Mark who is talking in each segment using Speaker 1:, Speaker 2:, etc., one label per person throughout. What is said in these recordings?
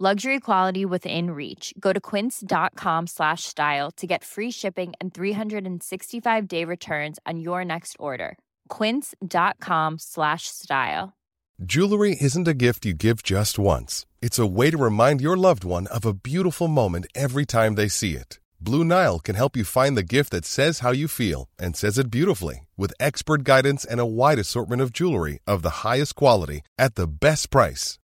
Speaker 1: Luxury quality within reach. Go to quince.com slash style to get free shipping and 365 day returns on your next order. Quince.com slash style.
Speaker 2: Jewelry isn't a gift you give just once. It's a way to remind your loved one of a beautiful moment every time they see it. Blue Nile can help you find the gift that says how you feel and says it beautifully with expert guidance and a wide assortment of jewelry of the highest quality at the best price.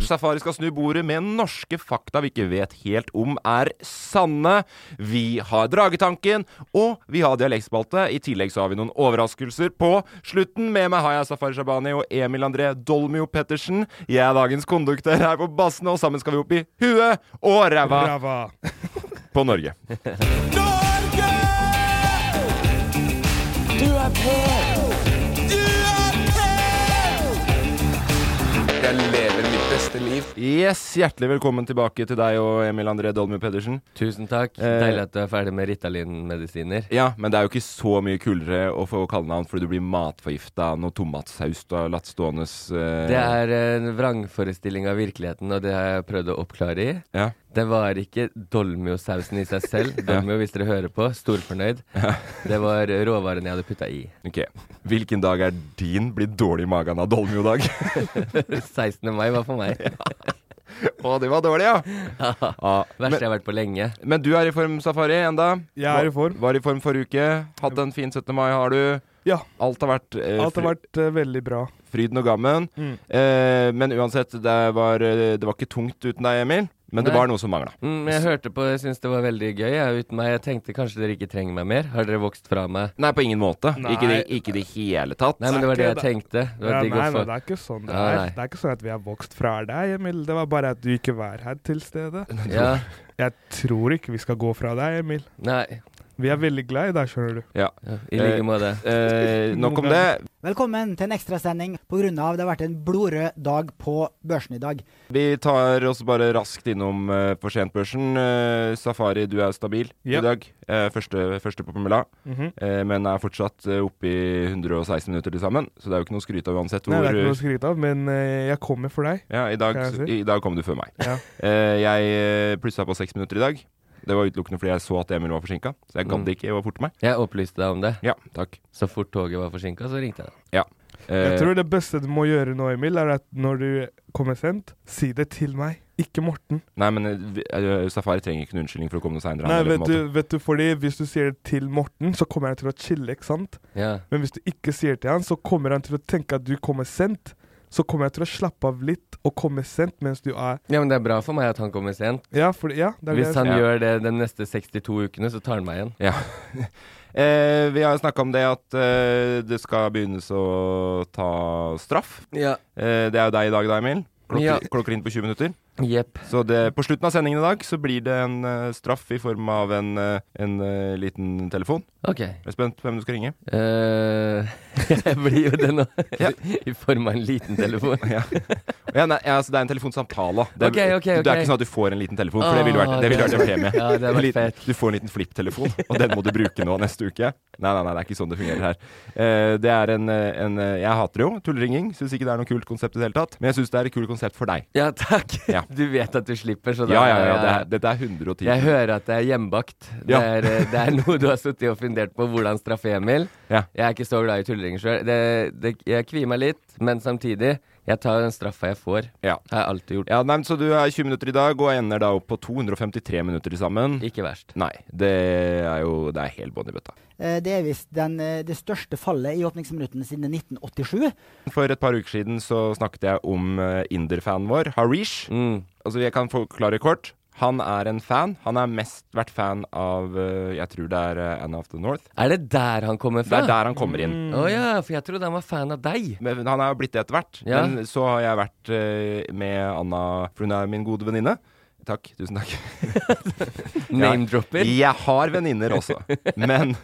Speaker 3: Safari skal snu bordet med norske fakta vi ikke vet helt om er sanne. Vi har Dragetanken, og vi har dialektspalte. I tillegg så har vi noen overraskelser på slutten. Med meg har jeg Safari Shabani og Emil André Dolmio Pettersen. Jeg er dagens konduktør her på bassene, og sammen skal vi opp i huet og ræva
Speaker 4: Brava.
Speaker 3: på Norge.
Speaker 4: Norge! Du er på! Du er på!
Speaker 5: Jeg lever mitt beste liv.
Speaker 3: Yes, Hjertelig velkommen tilbake til deg og Emil André Dolmio Pettersen.
Speaker 6: Tusen takk.
Speaker 4: Eh,
Speaker 6: Deilig at du er ferdig med Ritalin-medisiner.
Speaker 3: Ja, men det er jo ikke så mye kulere å få kallenavn fordi du blir matforgifta av noe tomatsaus du har latt stående eh,
Speaker 6: Det er en vrangforestilling av virkeligheten, og det har jeg prøvd å oppklare i.
Speaker 3: ja.
Speaker 6: Det var ikke dolmio-sausen i seg selv. Dolmio, hvis dere hører på, storfornøyd. Det var råvarene jeg hadde putta i.
Speaker 3: Ok. Hvilken dag er din blir dårlig i magen av dolmiodag?
Speaker 6: 16. mai var for meg.
Speaker 3: Å, det var dårlig, ja. ja.
Speaker 6: Verste jeg har vært på lenge.
Speaker 3: Men du er i form, Safari, enda.
Speaker 4: Jeg er i form.
Speaker 3: Var i form forrige uke. Hatt en fin 17. mai, har du.
Speaker 4: Ja.
Speaker 3: Alt har vært, eh,
Speaker 4: Alt har
Speaker 3: fry-
Speaker 4: vært eh, veldig bra.
Speaker 3: fryden og gammen.
Speaker 4: Mm.
Speaker 3: Eh, men uansett, det var, eh, det var ikke tungt uten deg, Emil. Men det
Speaker 6: Nei.
Speaker 3: var noe som mangla.
Speaker 6: Mm, jeg hørte på, jeg syns det var veldig gøy jeg, uten meg. Jeg tenkte kanskje dere ikke trenger meg mer. Har dere vokst fra meg?
Speaker 3: Nei, på ingen måte.
Speaker 4: Nei.
Speaker 3: Ikke i ikke det hele tatt.
Speaker 6: Nei, men det var det jeg tenkte. Det
Speaker 4: Ja,
Speaker 6: var
Speaker 4: nei,
Speaker 6: digg å
Speaker 4: nei,
Speaker 6: få.
Speaker 4: det er ikke sånn det
Speaker 6: Nei,
Speaker 4: er.
Speaker 6: nei.
Speaker 4: Det er ikke sånn at vi har vokst fra deg, Emil. Det var bare at du ikke var her til stede.
Speaker 6: Ja.
Speaker 4: Jeg tror ikke vi skal gå fra deg, Emil.
Speaker 6: Nei.
Speaker 4: Vi er veldig glad i deg, skjønner du.
Speaker 6: I like måte.
Speaker 3: Eh, nok om det.
Speaker 7: Velkommen til en ekstrasending pga. det har vært en blodrød dag på børsen i dag.
Speaker 3: Vi tar oss bare raskt innom uh, forsentbørsen. Eh, Safari, du er stabil
Speaker 4: Ja.
Speaker 3: i dag. Eh, første, første på Pamela.
Speaker 4: Mhm.
Speaker 3: Eh, men er fortsatt eh, oppe i 116 minutter til sammen. Så det er jo ikke noe å skryte av uansett.
Speaker 4: Nei,
Speaker 3: Hvor,
Speaker 4: det er ikke noe å skryte av, men eh, jeg kommer for deg.
Speaker 3: ja, i, dag,
Speaker 4: kan jeg si.
Speaker 3: I dag kom du før meg.
Speaker 4: Ja.
Speaker 3: Eh, jeg eh, plussa på seks minutter i dag. Det var utelukkende fordi jeg så at Emil var forsinka. Så jeg gadd
Speaker 6: Mm.
Speaker 3: ikke å forte meg.
Speaker 6: Jeg opplyste deg om det.
Speaker 3: Ja, takk.
Speaker 6: Så fort toget var forsinka, så ringte jeg. deg.
Speaker 3: Eh,
Speaker 4: Jeg tror det beste du må gjøre nå, Emil, er at når du kommer sent, si det til meg. Ikke Morten.
Speaker 3: Nei, men eh, vi- eh, Safari trenger ikke noen unnskyldning for å komme noe seinere.
Speaker 4: Nei, vet du, vet du, fordi hvis du sier det til Morten, så kommer han til å chille, ikke sant?
Speaker 6: Ja.
Speaker 4: Men hvis du ikke sier til han, så kommer han til å tenke at du kommer sent. Så kommer jeg til å slappe av litt og komme sent mens du er
Speaker 6: ja, men det er bra for meg at han kommer sent.
Speaker 4: Ja, for, ja det er det
Speaker 6: Hvis
Speaker 4: jeg-
Speaker 6: han
Speaker 3: Ja.
Speaker 6: gjør det de neste 62 ukene, så tar han meg igjen.
Speaker 3: Eh, vi har snakka om det at eh, det skal begynnes å ta straff.
Speaker 6: Ja.
Speaker 3: Eh, det er jo deg i dag, da, Emil. Klokker,
Speaker 6: Ja.
Speaker 3: klokker inn på 20 minutter.
Speaker 6: Jepp.
Speaker 3: Så det, på slutten av sendingen i dag så blir det en eh, straff i form av en, eh, en eh, liten telefon.
Speaker 6: Ok.
Speaker 3: Jeg er spent på hvem du skal ringe.
Speaker 6: Eh, jeg blir jo det nå.
Speaker 3: Ja.
Speaker 6: I form av en liten telefon.
Speaker 3: ja. Ja, nei, ja, altså det er en telefonsamtale. Det er,
Speaker 6: Ok, ok, ok.
Speaker 3: det er ikke sånn at du får en liten telefon, for det ville vært, det ville vært en premie.
Speaker 6: Ah, Ja, det
Speaker 3: En
Speaker 6: hadde vært
Speaker 3: liten-
Speaker 6: fett.
Speaker 3: du får en liten flipptelefon, og den må du bruke nå neste uke. Nei, nei, nei, det er ikke sånn det fungerer her. Eh, det er en, eh, en eh, Jeg hater det jo, tulleringing. Syns ikke det er noe kult konsept i det hele tatt. Men jeg syns det er et kult konsept for deg.
Speaker 6: Ja, takk.
Speaker 3: Ja. Ja.
Speaker 6: Du vet at du slipper, så da
Speaker 3: Ja, ja, ja. Det er, dette er 110
Speaker 6: Jeg hører at det er hjemmebakt. Det,
Speaker 3: Ja.
Speaker 6: er, eh, det er noe du har sittet og fundert på, hvordan straffe Emil.
Speaker 3: Ja.
Speaker 6: Jeg er ikke så glad i tullinger sjøl. Det- det- Jeg kvier meg litt, men samtidig, jeg tar den straffa jeg får.
Speaker 3: Ja.
Speaker 6: Har jeg alltid gjort.
Speaker 3: Ja, nei, men Så du er 20 minutter i dag og ender da opp på 253 minutter til sammen.
Speaker 6: Ikke verst.
Speaker 3: Nei, det er jo Det er helt bånn i bøtta.
Speaker 7: Eh, Det er visst den, eh, det største fallet i åpningsminuttene siden 1987.
Speaker 3: For et par uker siden så snakket jeg om eh, inderfanen vår, Harish.
Speaker 6: Mm.
Speaker 3: Altså, jeg kan forklare kort. Han er en fan. Han har mest vært fan av eh, Jeg tror det er eh, Anna of the North.
Speaker 6: Er det der han kommer
Speaker 3: Det
Speaker 6: fra?
Speaker 3: er der han kommer inn.
Speaker 6: Å ja, for jeg trodde han var fan av deg.
Speaker 3: Men han er jo blitt det etter hvert.
Speaker 6: Ja.
Speaker 3: Men så har jeg vært eh, med Anna, for hun er min gode venninne. Takk. Tusen takk.
Speaker 6: Name-dropper.
Speaker 3: Jeg har venninner også. Men,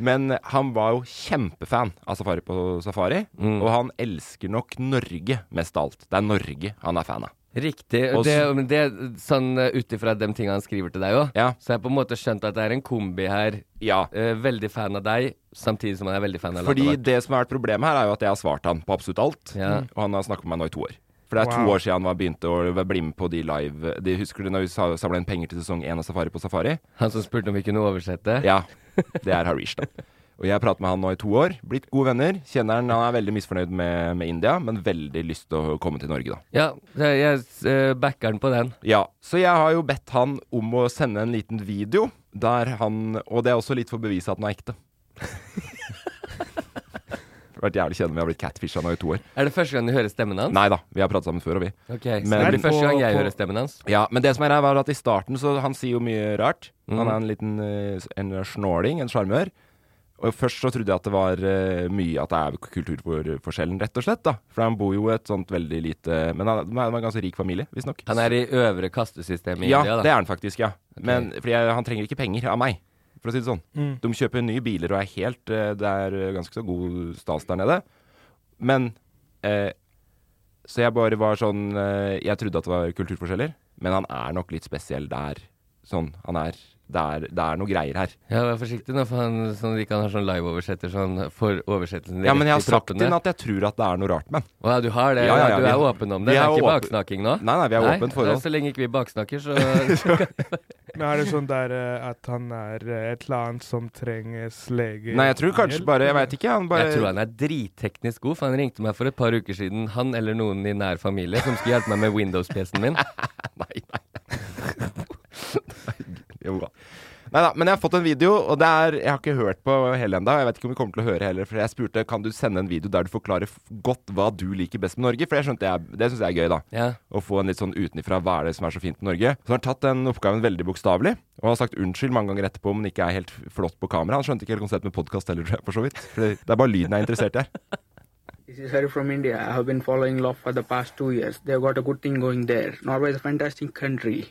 Speaker 3: men han var jo kjempefan av Safari på Safari. Og han elsker nok Norge mest av alt. Det er Norge han er fan av.
Speaker 6: Riktig. Og
Speaker 3: Og
Speaker 6: det,
Speaker 3: så-
Speaker 6: men det, sånn ut ifra de tingene han skriver til deg òg,
Speaker 3: Ja.
Speaker 6: så jeg har på en måte skjønt at det er en kombi her.
Speaker 3: Ja.
Speaker 6: Eh, veldig fan av deg, samtidig som han er veldig fan av
Speaker 3: Fordi
Speaker 6: Latter.
Speaker 3: det som har vært problemet her, er jo at jeg har svart han på absolutt alt.
Speaker 6: Ja.
Speaker 3: Og han har snakket med meg nå i to år. For det er
Speaker 4: Wow.
Speaker 3: to år siden han var begynte å bli med på de live de, Husker du når vi sa- samla inn penger til sesong én av Safari på Safari?
Speaker 6: Han som spurte om vi kunne oversette.
Speaker 3: Ja, det er Harish, da. Og jeg har pratet med han nå i to år. Blitt gode venner. Kjenner han, han er veldig misfornøyd med, med India, men veldig lyst til å komme til Norge, da.
Speaker 6: Ja, jeg, jeg eh, backer den på den.
Speaker 3: Ja, så jeg har jo bedt han om å sende en liten video der han Og det er også litt for å bevise at den er ekte. Det har vært jævlig kjedelig om vi har blitt catfisha nå i to år.
Speaker 6: Er det første gang du hører stemmen hans?
Speaker 3: Nei da, vi har pratet sammen før, og vi.
Speaker 6: Ok, så
Speaker 3: Men-
Speaker 6: det blir første gang jeg
Speaker 4: På- på-
Speaker 6: hører stemmen hans.
Speaker 3: Ja, Men det som er her, var at i starten så Han sier jo mye rart.
Speaker 6: Mm.
Speaker 3: Han er en liten eh, s- en snåling, en sjarmør. Og først så trodde jeg at det var eh, mye at det er kulturforskjellen, rett og slett. da For han bor jo i et sånt veldig lite Men han han er en ganske rik familie, visstnok.
Speaker 6: Han er i øvre kastesystem i
Speaker 3: Ja,
Speaker 6: India, da.
Speaker 3: det er han faktisk, ja. Men fordi jeg, han trenger ikke penger av meg, for å si det sånn. De kjøper nye biler og er helt eh, Det er eh, ganske så god stas der nede. Men eh, Så jeg bare var sånn eh, Jeg trodde at det var kulturforskjeller, men han er nok litt spesiell der. Sånn. Han er Det er, det er noe greier her.
Speaker 6: Ja, Vær forsiktig nå, for han sånn, at ikke han har sånn live-oversetter, så han får oversettelsen
Speaker 3: Ja, men jeg har
Speaker 6: i
Speaker 3: sagt
Speaker 6: proppene.
Speaker 3: til ham at jeg tror at det er noe rart med han.
Speaker 6: Å ja, du har det?
Speaker 3: Ja, ja, ja,
Speaker 6: du
Speaker 3: vi
Speaker 6: er
Speaker 3: har-
Speaker 6: åpen om
Speaker 3: vi
Speaker 6: det? Det
Speaker 3: er
Speaker 6: er ikke
Speaker 3: åpen-
Speaker 6: baksnakking nå?
Speaker 3: Nei, nei, vi har åpent forhold.
Speaker 6: Så lenge ikke vi baksnakker, så
Speaker 4: Men er det sånn der eh, at han er eh, et eller annet som trenges lege
Speaker 3: Nei, jeg tror kanskje
Speaker 4: hjelp,
Speaker 3: bare Jeg
Speaker 4: eller?
Speaker 3: veit ikke, han bare
Speaker 6: Jeg tror han er dritteknisk god, for han ringte meg for et par uker siden, han eller noen i nær familie, som skulle hjelpe meg med Windows-PC-en min.
Speaker 3: Nei, nei. jo da. Nei da, men jeg har fått en video, og det er, jeg har ikke hørt på hele ennå. Jeg vet ikke om vi kommer til å høre heller, for jeg spurte kan du sende en video der du forklarer f- godt hva du liker best med Norge. For jeg skjønte jeg, det syns jeg er gøy, da.
Speaker 6: Ja.
Speaker 3: Å få en litt sånn utenifra hva er det som er så fint med Norge. Så han har tatt den oppgaven veldig bokstavelig, og har sagt unnskyld mange ganger etterpå om den ikke er helt flott på kamera. Han skjønte ikke helt konseptet med podkast heller, tror jeg, for så vidt. For det det er bare lyden jeg er interessert i her.
Speaker 8: This is Hari from India. I have been following love for the past two years. They've got a good thing going there. Norway is a fantastic country.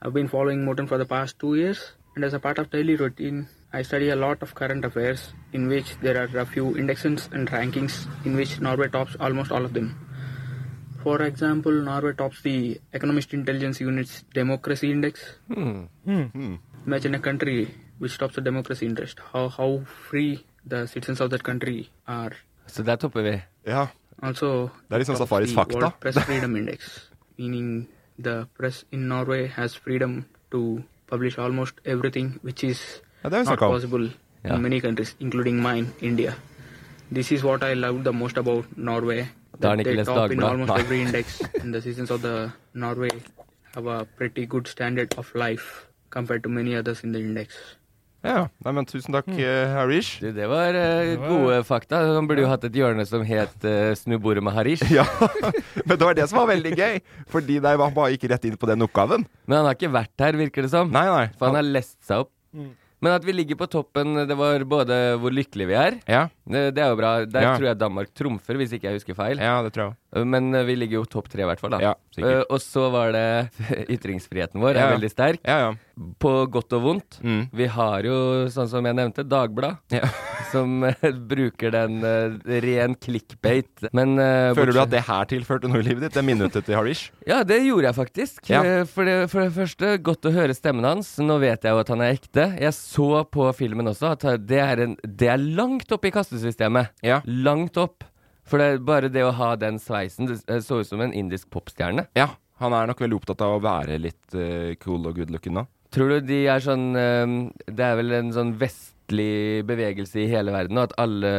Speaker 8: I've been following Moten for the past two years, and as a part of daily routine, I study a lot of current affairs, in which there are a few indexes and rankings in which Norway tops almost all of them. For example, Norway tops the Economist Intelligence Unit's Democracy Index. Imagine a country which tops the democracy index. How how free the citizens of that country are.
Speaker 6: Så der topper vi.
Speaker 3: Ja.
Speaker 8: Also,
Speaker 3: Det er liksom
Speaker 8: it tops
Speaker 3: Safari's
Speaker 8: the
Speaker 3: fakta.
Speaker 8: World Press Freedom Index, meaning the press in Norway has freedom to publish almost everything which is
Speaker 3: Ja, det har vi
Speaker 8: not
Speaker 3: snakket om.
Speaker 8: possible
Speaker 6: Yeah.
Speaker 8: in many countries, including mine, India. This is what I loved the most about Norway.
Speaker 6: Da har han
Speaker 8: that
Speaker 6: ikke
Speaker 8: they
Speaker 6: lest
Speaker 8: top in
Speaker 6: Dagbladet.
Speaker 8: almost
Speaker 6: Nei.
Speaker 8: every index, and the citizens of the Norway have a pretty good standard of life compared to many others in the index.
Speaker 3: ja. Nei, men tusen takk, eh, Harish.
Speaker 6: Du, det var eh, gode fakta. Han burde jo hatt et hjørne som het eh, 'Snu bordet med Harish'.
Speaker 3: Ja, men det var det som var veldig gøy. Fordi det var bare ikke rett inn på den oppgaven.
Speaker 6: Men han har ikke vært her, virker det som.
Speaker 3: Nei, nei.
Speaker 6: For han har lest seg opp. Men at vi ligger på toppen, det var både hvor lykkelige vi er.
Speaker 3: Ja,
Speaker 6: Det, det er jo bra. Der
Speaker 3: Ja.
Speaker 6: tror jeg Danmark trumfer, hvis ikke jeg husker feil.
Speaker 3: ja det tror jeg òg.
Speaker 6: Men eh, vi ligger jo topp tre, i hvert fall. da
Speaker 3: Ja, sikkert.
Speaker 6: Eh, Og så var det ytringsfriheten vår er
Speaker 3: Ja.
Speaker 6: veldig sterk.
Speaker 3: Ja, ja.
Speaker 6: På godt og vondt.
Speaker 3: Mm.
Speaker 6: Vi har jo, sånn som jeg nevnte, Dagblad.
Speaker 3: Ja.
Speaker 6: Som eh, bruker den eh, ren clickbait. Men eh,
Speaker 3: Føler du
Speaker 6: bortsett-
Speaker 3: at det her tilførte noe i livet ditt? Det minuttet til Harish?
Speaker 6: Ja, det gjorde jeg faktisk.
Speaker 3: Ja.
Speaker 6: Eh, For, det, for det første, godt å høre stemmen hans. Nå vet jeg jo at han er ekte. Jeg så på filmen også at det er, en, det er langt opp i kastesystemet.
Speaker 3: Ja.
Speaker 6: eh, Langt opp. For det, er bare det å ha den sveisen, det så ut som en indisk popstjerne.
Speaker 3: Ja. Han er nok veldig opptatt av å være litt eh, cool og good looking nå.
Speaker 6: Tror du de er sånn ehm, Det er vel en sånn vestlig bevegelse i hele verden, og at alle,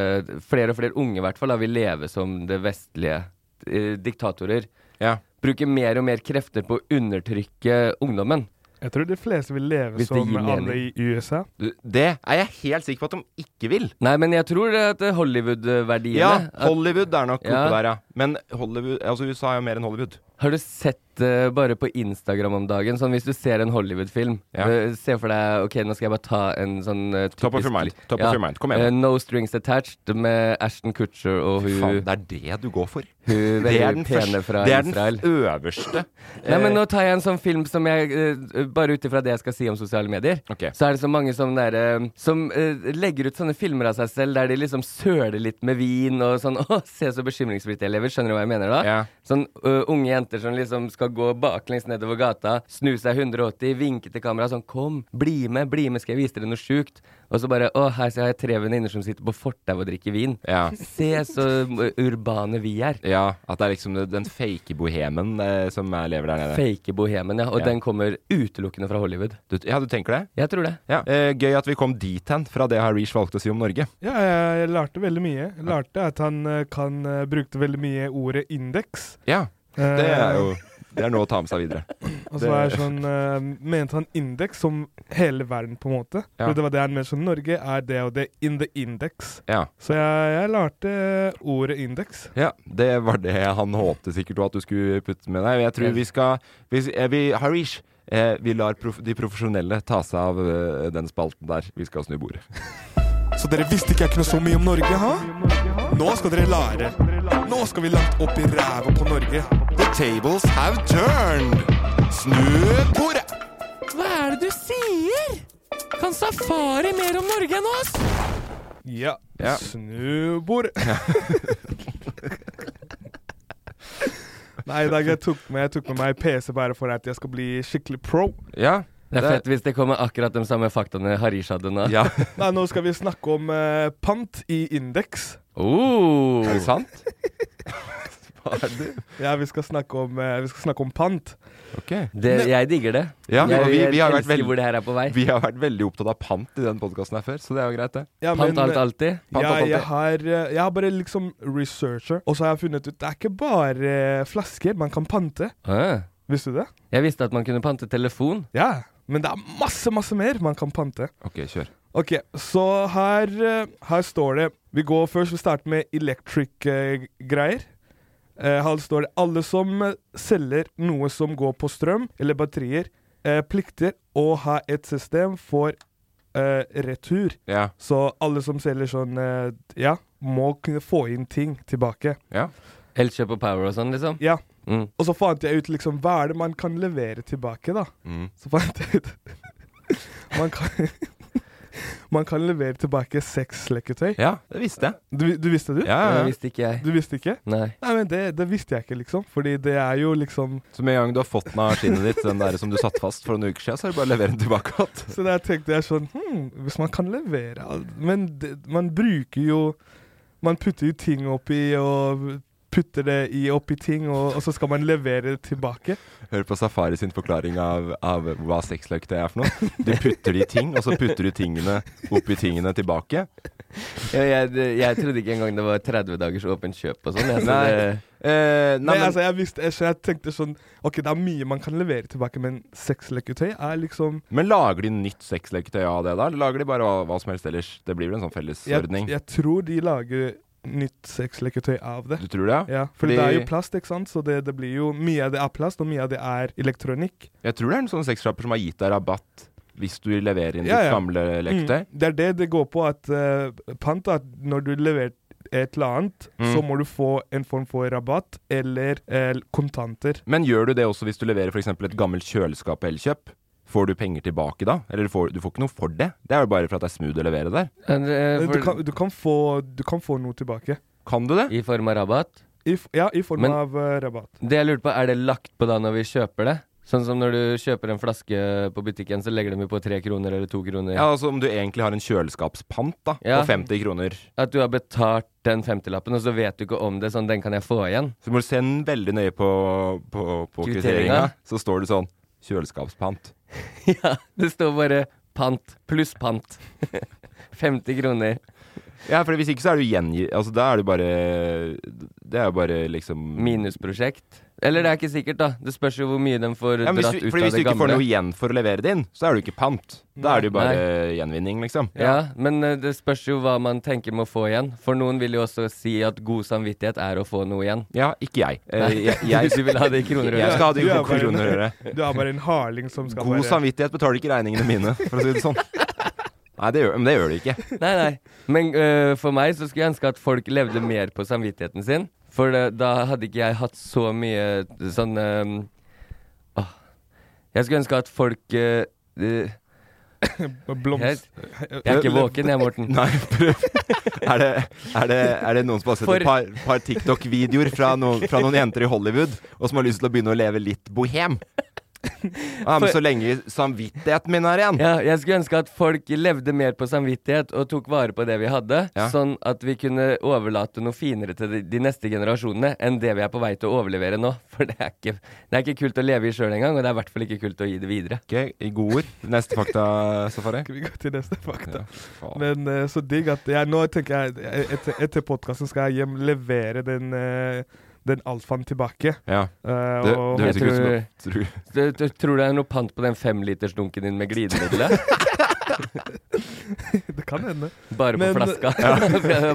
Speaker 6: flere og flere unge i hvert fall, da, vil leve som det vestlige eh, diktatorer.
Speaker 3: Ja.
Speaker 6: Bruke mer og mer krefter på å undertrykke ungdommen.
Speaker 4: Jeg tror de fleste vil leve
Speaker 6: Hvis det
Speaker 4: som
Speaker 6: gir mening.
Speaker 4: alle i USA.
Speaker 3: Du, Det er jeg helt sikker på at de ikke vil.
Speaker 6: Nei, men jeg tror det at Hollywood-verdiene
Speaker 3: Ja,
Speaker 6: at-
Speaker 3: Hollywood er nok
Speaker 6: Ja.
Speaker 3: oppe der, ja. Men Hollywood, altså USA er jo mer enn Hollywood.
Speaker 6: Har du sett eh, bare på Instagram om dagen, sånn hvis du ser en Hollywood-film
Speaker 3: Ja.
Speaker 6: eh, Se for deg Ok, nå skal jeg bare ta en sånn eh, typisk
Speaker 3: Top of your mind. Top of your mind. Kom igjen.
Speaker 6: eh, no Strings Attached med Ashton Kutcher og hun,
Speaker 3: Faen, det er det du går for.
Speaker 6: hun
Speaker 3: Det er
Speaker 6: veldig
Speaker 3: den,
Speaker 6: pene
Speaker 3: første,
Speaker 6: fra
Speaker 3: det er den
Speaker 6: Israel.
Speaker 3: øverste.
Speaker 6: Nei, men
Speaker 3: Eh.
Speaker 6: nå tar jeg en sånn film som jeg eh, Bare ut ifra det jeg skal si om sosiale medier,
Speaker 3: Ok.
Speaker 6: så er det så mange som der, eh, Som eh, legger ut sånne filmer av seg selv der de liksom søler litt med vin og sånn Å, se så bekymringsfritt jeg lever. Skjønner du hva jeg mener da?
Speaker 3: Ja.
Speaker 6: Sånn ø, unge jenter som liksom skal gå baklengs nedover gata, snu seg 180, vinke til kamera sånn 'Kom, bli med, bli med, skal jeg vise dere noe sjukt?' Og så bare 'Å, her så har jeg tre venninner som sitter på fortau og drikker vin'.
Speaker 3: Ja.
Speaker 6: Se så ø, urbane vi er.
Speaker 3: ja. At det er liksom den fake bohemen eh, som eh, lever der nede.
Speaker 6: Fake bohemen, ja. Og
Speaker 3: Ja.
Speaker 6: den kommer utelukkende fra Hollywood.
Speaker 3: Du, ja, du tenker det?
Speaker 6: Jeg tror det.
Speaker 3: Ja. Eh, gøy at vi kom dit hen fra det Harish valgte å si om Norge.
Speaker 4: Ja, jeg, jeg lærte veldig mye. Jeg lærte at han eh, kan eh, brukte veldig mye ordet indeks.
Speaker 3: Ja, det er jo Det er noe å ta med seg videre.
Speaker 4: Og så er sånn, eh, mente han indeks som hele verden, på en måte.
Speaker 3: Ja.
Speaker 4: For det var det han mente sånn Norge er det og det in the index.
Speaker 3: Ja.
Speaker 4: Så jeg, jeg lærte ordet indeks.
Speaker 3: Ja, det var det han håpte sikkert også at du skulle putte med deg. Jeg tror vi skal vi, eh, vi, Harish, eh, vi lar prof, de profesjonelle ta seg av eh, den spalten der. Vi skal snu bordet.
Speaker 9: Så dere visste ikke jeg kunne så mye om Norge, ha? Nå skal dere lære. Nå skal vi langt opp i ræva på Norge. The tables have turned. Snu bordet.
Speaker 6: Hva er det du sier?! Kan safari mer om Norge enn oss?!
Speaker 4: Ja.
Speaker 3: Ja.
Speaker 4: Snubord. Nei, i dag jeg tok med, jeg tok med meg PC bare for at jeg skal bli skikkelig pro.
Speaker 3: Ja.
Speaker 6: Det er fett hvis det kommer akkurat de samme faktaene Harish hadde nå.
Speaker 3: ja.
Speaker 4: Nei, nå skal vi snakke om eh, pant i indeks.
Speaker 6: Oh.
Speaker 3: Er det sant? Hva er det?
Speaker 4: Ja, vi skal snakke om, eh, vi skal snakke om pant.
Speaker 3: Ok.
Speaker 6: Det, jeg digger det.
Speaker 3: Ja,
Speaker 6: jeg
Speaker 3: og vi, vi, har vært
Speaker 6: elsker hvor
Speaker 3: veldig,
Speaker 6: det her er på vei.
Speaker 3: vi har vært veldig opptatt av pant i den podkasten her før, så det er jo greit, det.
Speaker 4: Ja,
Speaker 6: Pant
Speaker 4: men,
Speaker 6: alt alltid.
Speaker 3: Pant
Speaker 4: ja,
Speaker 3: alt,
Speaker 4: jeg,
Speaker 3: alltid.
Speaker 4: har, eh, jeg har bare liksom researcher, og så har jeg funnet ut det er ikke bare eh, flasker man kan pante.
Speaker 6: Ah.
Speaker 4: Visste du det?
Speaker 6: Jeg visste at man kunne pante telefon.
Speaker 4: Ja. Men det er masse, masse mer man kan pante.
Speaker 3: Ok, kjør.
Speaker 4: Ok, så her, eh, her står det Vi går først, vi starter med electric-greier. Eh, her står det alle som eh, selger noe som går på strøm eller batterier, eh, plikter å ha et system for eh, retur.
Speaker 3: Ja.
Speaker 4: Så alle som selger sånn, eh, ja, må kunne få inn ting tilbake.
Speaker 3: ja.
Speaker 6: Elkjøp og Power og sånn, liksom.
Speaker 4: Ja.
Speaker 6: Mm.
Speaker 4: Og så fant jeg ut liksom, hva er det man kan levere tilbake, da.
Speaker 3: Mm.
Speaker 4: Så fant jeg ut Man kan, man kan levere tilbake seks leketøy.
Speaker 3: ja, det visste jeg.
Speaker 4: Du, du visste du?
Speaker 3: Ja,
Speaker 6: Det
Speaker 3: ja, ja.
Speaker 6: visste ikke jeg.
Speaker 4: Du visste ikke?
Speaker 6: Nei.
Speaker 4: Nei, men det, det visste jeg ikke, liksom. Fordi det er jo liksom
Speaker 3: Så med en gang du har fått den av skinnet ditt, den der som du satt fast for noen uker siden, så er det bare å levere den tilbake igjen.
Speaker 4: Så der tenkte jeg sånn Hm, hvis man kan levere alt- Men det, man bruker jo Man putter jo ting oppi og putter det i, oppi ting, og, og så skal man levere det tilbake.
Speaker 3: Hør på Safari sin forklaring av, av hva sexløketøy er for noe. Du putter det i ting, og så putter du tingene oppi tingene tilbake.
Speaker 6: Jeg, jeg, jeg trodde ikke engang det var 30 dagers åpent kjøp og sånn. jeg, så
Speaker 3: Nei.
Speaker 6: det-
Speaker 3: Eh, nei,
Speaker 4: Nei,
Speaker 3: men,
Speaker 4: altså, jeg visste jeg, jeg tenkte sånn OK, det er mye man kan levere tilbake, men seks leketøy er liksom
Speaker 3: men lager de nytt sexløketøy av det da? Eller lager de bare hva, hva som helst ellers? Det blir vel en sånn
Speaker 4: Jeg,
Speaker 3: fellesordning?
Speaker 4: jeg tror de lager nytt seks leketøy av det.
Speaker 3: Du tror det?
Speaker 4: Ja, for
Speaker 3: Fordi-
Speaker 4: det er jo plast, ikke sant? Så det, det blir jo Mye av det er plast, og mye av det er elektronikk.
Speaker 3: Jeg tror det er en sånn sexshopper som har gitt deg rabatt hvis du leverer inn
Speaker 4: Ja,
Speaker 3: ditt
Speaker 4: ja.
Speaker 3: gamle leketøy.
Speaker 4: Mm. Det er det det går på, at eh, pant at når du leverer et eller annet,
Speaker 3: Mm.
Speaker 4: så må du få en form for rabatt eller eh, kontanter.
Speaker 3: Men gjør du det også hvis du leverer f.eks. et gammelt kjøleskap på Elkjøp? Får du penger tilbake da? Eller du får, du får ikke noe for det? Det er jo bare for at det er smooth å levere der.
Speaker 6: Men, eh,
Speaker 4: Du
Speaker 6: for,
Speaker 4: kan, du, kan få, du kan få noe tilbake.
Speaker 3: Kan du det?
Speaker 6: I form av rabatt.
Speaker 4: I, f- ja, i form
Speaker 6: Men-
Speaker 4: av eh, rabatt.
Speaker 6: Det jeg lurte på, er det lagt på da når vi kjøper det? Sånn som når du kjøper en flaske på butikken, så legger de jo på tre kroner eller to kroner.
Speaker 3: Ja, altså Om du egentlig har en kjøleskapspant da
Speaker 6: Ja.
Speaker 3: på 50 kroner,
Speaker 6: At du har betalt den femtilappen, og så vet du ikke om det, sånn den kan jeg få igjen.
Speaker 3: så må du se den veldig nøye på, på, på kvitteringa.
Speaker 6: Kvitteringa.
Speaker 3: Så står det sånn 'kjøleskapspant'.
Speaker 6: ja, det står bare pant pluss pant. 50 kroner.
Speaker 3: Ja, for Hvis ikke så er du gjengi... Altså, da er du bare Det er jo bare liksom
Speaker 6: Minusprosjekt. Eller det er ikke sikkert, da. Det spørs jo hvor mye de får
Speaker 3: ja, men hvis,
Speaker 6: dratt
Speaker 3: du,
Speaker 6: ut
Speaker 3: fordi
Speaker 6: av
Speaker 3: hvis du
Speaker 6: det
Speaker 3: ikke får
Speaker 6: gamle.
Speaker 3: noe igjen for å levere det inn, så er du ikke pant. Da er det jo bare gjenvinning, liksom.
Speaker 6: Ja, men eh, det spørs jo hva man tenker med å få igjen. For noen vil jo også si at god samvittighet er å få noe igjen.
Speaker 3: Ja, ikke jeg. Eh,
Speaker 6: Nei.
Speaker 3: jeg, jeg
Speaker 6: Du vil ha det i kroner og
Speaker 3: Jeg
Speaker 6: øre.
Speaker 3: skal ha det i
Speaker 4: Du er bare en-
Speaker 3: kroner og øre.
Speaker 4: Du er bare en harling som skal
Speaker 3: God
Speaker 4: bare
Speaker 3: samvittighet betaler ikke regningene mine, for å si det sånn. Nei, det gjør, men det gjør det ikke.
Speaker 6: Nei, nei. Men eh, for meg så skulle jeg ønske at folk levde mer på samvittigheten sin. For det, da hadde ikke jeg hatt så mye sånn eh, åh. Jeg skulle ønske at folk eh, eh,
Speaker 4: blomst...
Speaker 6: Jeg er ikke våken, jeg, Morten.
Speaker 3: Nei, prøv. Er det, er det, er det noen som har sett
Speaker 6: For-
Speaker 3: et par, par TikTok-videoer fra, noen- fra noen jenter i Hollywood, og som har lyst til å begynne å leve litt bohem? Ja, men
Speaker 6: For-
Speaker 3: så lenge samvittigheten min er igjen.
Speaker 6: Ja, jeg skulle ønske at folk levde mer på samvittighet og tok vare på det vi hadde,
Speaker 3: Ja.
Speaker 6: sånn at vi kunne overlate noe finere til de, de neste generasjonene enn det vi er på vei til å overlevere nå. For det er ikke, det er ikke kult å leve i sjøl engang, og det er i hvert fall ikke kult å gi det videre.
Speaker 3: Ok, i gode ord. Neste fakta, Safari.
Speaker 4: Skal vi gå til neste fakta?
Speaker 3: Ja, faen.
Speaker 4: Men eh, så digg at jeg, Nå tenker jeg jeg- etter, etter podkasten skal jeg hjem levere den, eh, den alfaen tilbake.
Speaker 3: Ja,
Speaker 4: Eh,
Speaker 3: det,
Speaker 4: og-
Speaker 3: det
Speaker 6: Jeg
Speaker 3: høres ikke ut
Speaker 6: tror-
Speaker 3: som noe.
Speaker 6: Du, du, tror du det er noe pant på den femlitersdunken din med glidemiddelet?
Speaker 4: det kan hende.
Speaker 6: Bare på
Speaker 4: Men-
Speaker 6: flaska.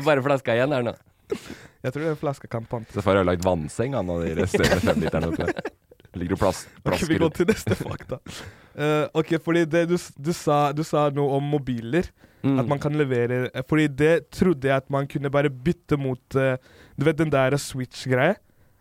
Speaker 6: Bare flaska igjen her nå.
Speaker 4: Jeg tror den flaska kan pante.
Speaker 3: Safari har lagd vannseng, han, av de resterende femliterne oppi der. Ligger og plas-
Speaker 4: Kan vi
Speaker 3: plasker
Speaker 4: gå
Speaker 3: rundt.
Speaker 4: til neste fakta? Eh, ok, fordi det du, s- du, sa, du sa noe om mobiler. At
Speaker 6: Mm.
Speaker 3: Mm.
Speaker 4: man kan levere eh, Fordi det trodde jeg at man kunne bare bytte mot eh, Du vet den der switch-greie?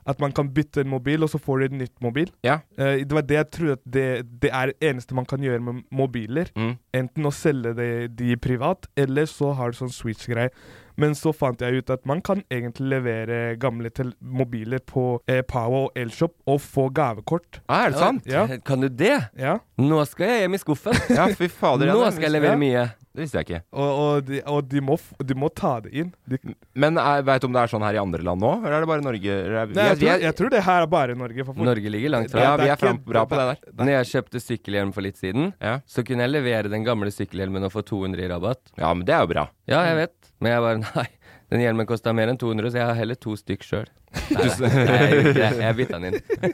Speaker 4: At man kan bytte en mobil, og så får du en nytt mobil.
Speaker 3: Ja.
Speaker 4: Eh, det var det jeg trodde at det, det er det eneste man kan gjøre med mobiler.
Speaker 3: Mm.
Speaker 4: Enten å selge det, de privat, eller så har du sånn switch-greie. Men så fant jeg ut at man kan egentlig levere gamle tel- mobiler på eh, Power og Elshop og få gavekort.
Speaker 3: Ah, er det sant?
Speaker 4: Ja,
Speaker 6: Kan du det?
Speaker 4: ja.
Speaker 6: Nå skal jeg hjem i skuffen.
Speaker 3: Ja, fy fader. ja,
Speaker 6: Nå
Speaker 3: det
Speaker 6: skal jeg
Speaker 3: visste-
Speaker 6: levere mye.
Speaker 3: Det visste jeg ikke.
Speaker 4: Og, og, de, og de, må, f- de må ta det inn. De,
Speaker 3: Men jeg vet du om det er sånn her i andre land nå, eller er det bare Norge? Eller
Speaker 6: Mm,
Speaker 3: er-
Speaker 4: nei, jeg,
Speaker 3: vi er-
Speaker 4: tror, jeg tror det her er bare Norge. For folk.
Speaker 6: Norge ligger langt fra.
Speaker 3: ja, vi
Speaker 4: det er
Speaker 3: er fram,
Speaker 4: ikke-
Speaker 3: bra på det der.
Speaker 6: Når jeg kjøpte sykkelhjelm for litt siden,
Speaker 3: Ja.
Speaker 6: så kunne jeg levere den gamle sykkelhjelmen og få 200 i rabatt.
Speaker 3: Ja, men det er jo bra.
Speaker 6: Ja, jeg vet. Men jeg bare nei. Den hjelmen kosta mer enn 200, så jeg har heller to stykk sjøl. Nei, nei, nei, jeg gjorde ikke det. jeg bytta den inn.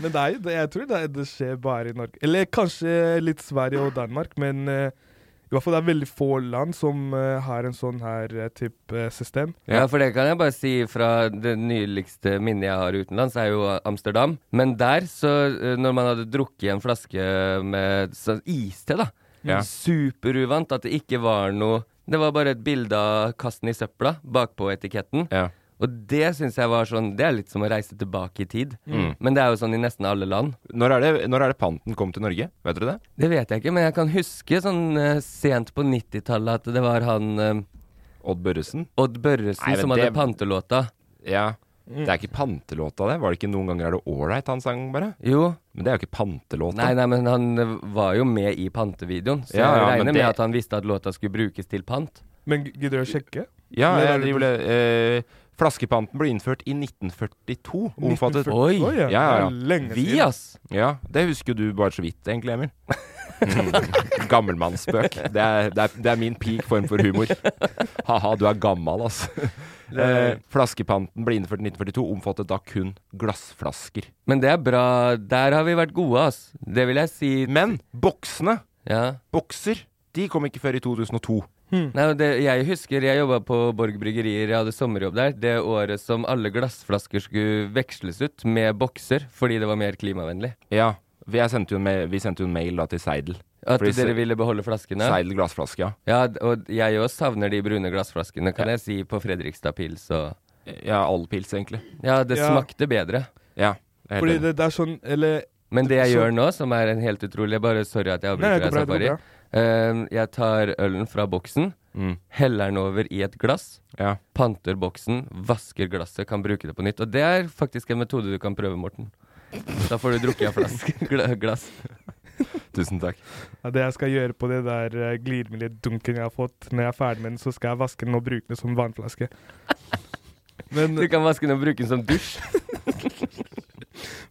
Speaker 4: Men det er, jo- det, jeg tror det, er- det skjer bare i Norge. Eller kanskje litt Sverige og Danmark, men eh, i hvert fall det er veldig få land som eh, har en sånn her eh, typ eh, system.
Speaker 6: Ja, for det kan jeg bare si fra det nyligste minnet jeg har utenlands, er jo Amsterdam. Men der, så eh, når man hadde drukket en flaske med sånn iste, da
Speaker 3: Ja.
Speaker 6: Superuvant at det ikke var noe Det var bare et bilde av kasten i søpla bakpå etiketten.
Speaker 3: Ja.
Speaker 6: Og det syns jeg var sånn Det er litt som å reise tilbake i tid.
Speaker 3: Mm.
Speaker 6: Men det er jo sånn i nesten alle land.
Speaker 3: Når, er det, når er det panten kom til Norge? Vet dere det?
Speaker 6: Det vet jeg ikke, men jeg kan huske sånn eh, sent på 90-tallet at det var han eh,
Speaker 3: Odd Børresen?
Speaker 6: Odd Børresen
Speaker 3: Nei, men
Speaker 6: som
Speaker 3: det-
Speaker 6: hadde pantelåta.
Speaker 3: Ja. Det er ikke pantelåta, det. Var det ikke noen ganger er det ålreit han sang, bare?
Speaker 6: Jo.
Speaker 3: Men det er jo ikke pantelåta.
Speaker 6: Nei, nei, men han eh, var jo med i pantevideoen, så
Speaker 3: Ja,
Speaker 6: jeg
Speaker 3: ja, men
Speaker 6: regner
Speaker 3: det-
Speaker 6: med at han visste at låta skulle brukes til pant.
Speaker 4: Men g- gidder du å sjekke?
Speaker 3: Ja,
Speaker 4: Når er
Speaker 3: jeg
Speaker 4: det-
Speaker 3: driver det eh, Flaskepanten ble innført i 1942. Omfattet
Speaker 4: 1940.
Speaker 6: Oi!
Speaker 4: Oi, ja.
Speaker 3: Ja, ja, ja.
Speaker 4: Det er Lenge
Speaker 6: Vi,
Speaker 4: siden.
Speaker 6: ass!
Speaker 3: Ja, det husker jo du bare så vidt, egentlig, Emil. Mm. Gammelmannsspøk. Det er, det, er, det er min peak form for humor. Ha-ha, du er gammal, ass. Eh, flaskepanten ble innført i 1942, omfattet da kun glassflasker.
Speaker 6: Men det er bra. Der har vi vært gode, ass. Det vil jeg si.
Speaker 3: Men boksene,
Speaker 6: Ja.
Speaker 3: bokser, de kom ikke før i 2002.
Speaker 6: Nei, men det, jeg husker jeg jobba på Borg Bryggerier, jeg hadde sommerjobb der. Det året som alle glassflasker skulle veksles ut med bokser fordi det var mer klimavennlig.
Speaker 3: Ja, vi jeg sendte jo en, ma- vi sendte jo en mail da til Seidel.
Speaker 6: At
Speaker 3: Fordi se-
Speaker 6: dere ville beholde flaskene.
Speaker 3: Seidel glassflaske, ja.
Speaker 6: Ja, d- og jeg òg savner de brune glassflaskene, kan jeg si, på Fredrikstad Pils og
Speaker 3: Ja, all pils, egentlig.
Speaker 6: Ja, det
Speaker 4: Ja.
Speaker 6: smakte bedre.
Speaker 3: Ja. jeg er helt
Speaker 4: Fordi
Speaker 3: enig.
Speaker 4: det, det er sånn Eller
Speaker 6: Men det jeg
Speaker 4: Så-
Speaker 6: gjør nå, som er en helt utrolig Bare sorry at jeg avbryter
Speaker 4: Nei, det
Speaker 6: deg,
Speaker 4: går bra. Det
Speaker 6: Safari.
Speaker 4: går bra.
Speaker 6: Eh, jeg tar ølen fra boksen,
Speaker 3: Mm.
Speaker 6: heller den over i et glass,
Speaker 3: Ja.
Speaker 6: panter boksen, vasker glasset, kan bruke det på nytt. Og det er faktisk en metode du kan prøve, Morten. Da får du drukket av flask, gla- glass.
Speaker 3: Tusen takk.
Speaker 4: Ja, det jeg skal gjøre på det der eh, glidemiddeldunken jeg har fått, når jeg er ferdig med den, så skal jeg vaske den og bruke den som vannflaske. Men,
Speaker 6: Du kan vaske den og bruke den som dusj.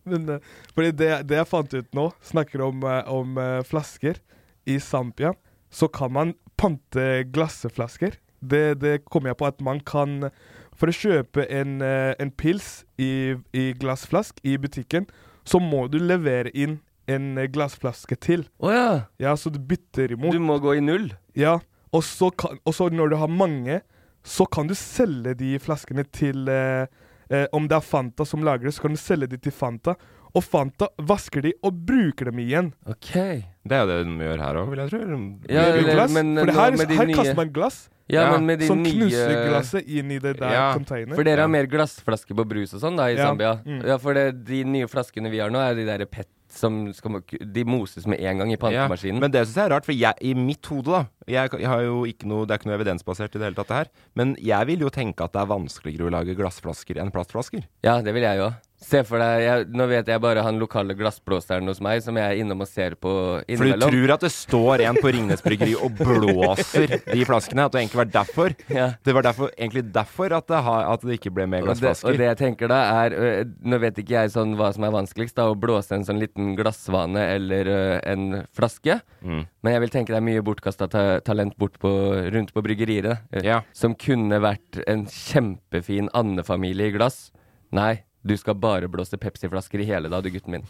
Speaker 4: men eh, fordi det, det jeg fant ut nå, snakker om, eh, om eh, flasker. I Zampia så kan man pante glassflasker. Det, det kom jeg på at man kan For å kjøpe en, eh, en pils i, i glassflask i butikken, så må du levere inn en eh, glassflaske til.
Speaker 6: Å ja.
Speaker 4: Ja, så du bytter imot.
Speaker 6: Du må gå i null.
Speaker 4: Ja, og så, kan, og så når du har mange, så kan du selge de flaskene til eh, eh, Om det er Fanta som lager det, så kan du selge de til Fanta. Og Fanta vasker de og bruker dem igjen.
Speaker 6: OK.
Speaker 3: Det er jo det de gjør her òg, vil jeg tro. eller?
Speaker 6: Ja,
Speaker 4: Bruker
Speaker 6: eller-
Speaker 4: glass.
Speaker 6: men, eh,
Speaker 4: For det
Speaker 6: nå
Speaker 4: her,
Speaker 6: med de
Speaker 4: her
Speaker 6: nye-
Speaker 4: kaster man glass
Speaker 6: Ja,
Speaker 3: Ja,
Speaker 6: men med de
Speaker 4: som knuser
Speaker 6: nye
Speaker 4: glasset inn i det der
Speaker 3: Ja,
Speaker 4: container.
Speaker 6: For dere har mer glassflasker på brus og sånn da i
Speaker 4: Ja,
Speaker 6: Zambia?
Speaker 4: mm.
Speaker 6: Ja, for det, de nye flaskene vi har nå, er de der PET som skal, De moses med en gang i
Speaker 3: Ja,
Speaker 6: pantemaskinen.
Speaker 3: Men det syns jeg er rart, for jeg, i mitt hode, da jeg, jeg har jo ikke noe, Det er ikke noe evidensbasert i det hele tatt, det her. Men jeg vil jo tenke at det er vanskeligere å lage glassflasker enn plastflasker.
Speaker 6: Ja, det vil jeg jo. Se for deg jeg, Nå vet jeg bare han lokale glassblåseren hos meg, som jeg er innom og ser på
Speaker 3: For du
Speaker 6: innimellom.
Speaker 3: tror at det står en på Ringnes Bryggeri og blåser de flaskene. At det egentlig var derfor.
Speaker 6: Ja.
Speaker 3: Det var derfor, egentlig derfor at det, har, at det ikke ble mer
Speaker 6: Og det, og
Speaker 3: glassflasker.
Speaker 6: det jeg tenker da er øh, Nå vet ikke jeg sånn hva som er vanskeligst, da, å blåse en sånn liten glassvane eller øh, en flaske.
Speaker 3: Mm.
Speaker 6: Men jeg vil tenke det er mye bortkasta ta talent bort på, rundt på bryggeriet. øh,
Speaker 3: Ja.
Speaker 6: Som kunne vært en kjempefin andefamilie i glass. Nei, du skal bare blåse Pepsi-flasker i hele dag, du gutten min.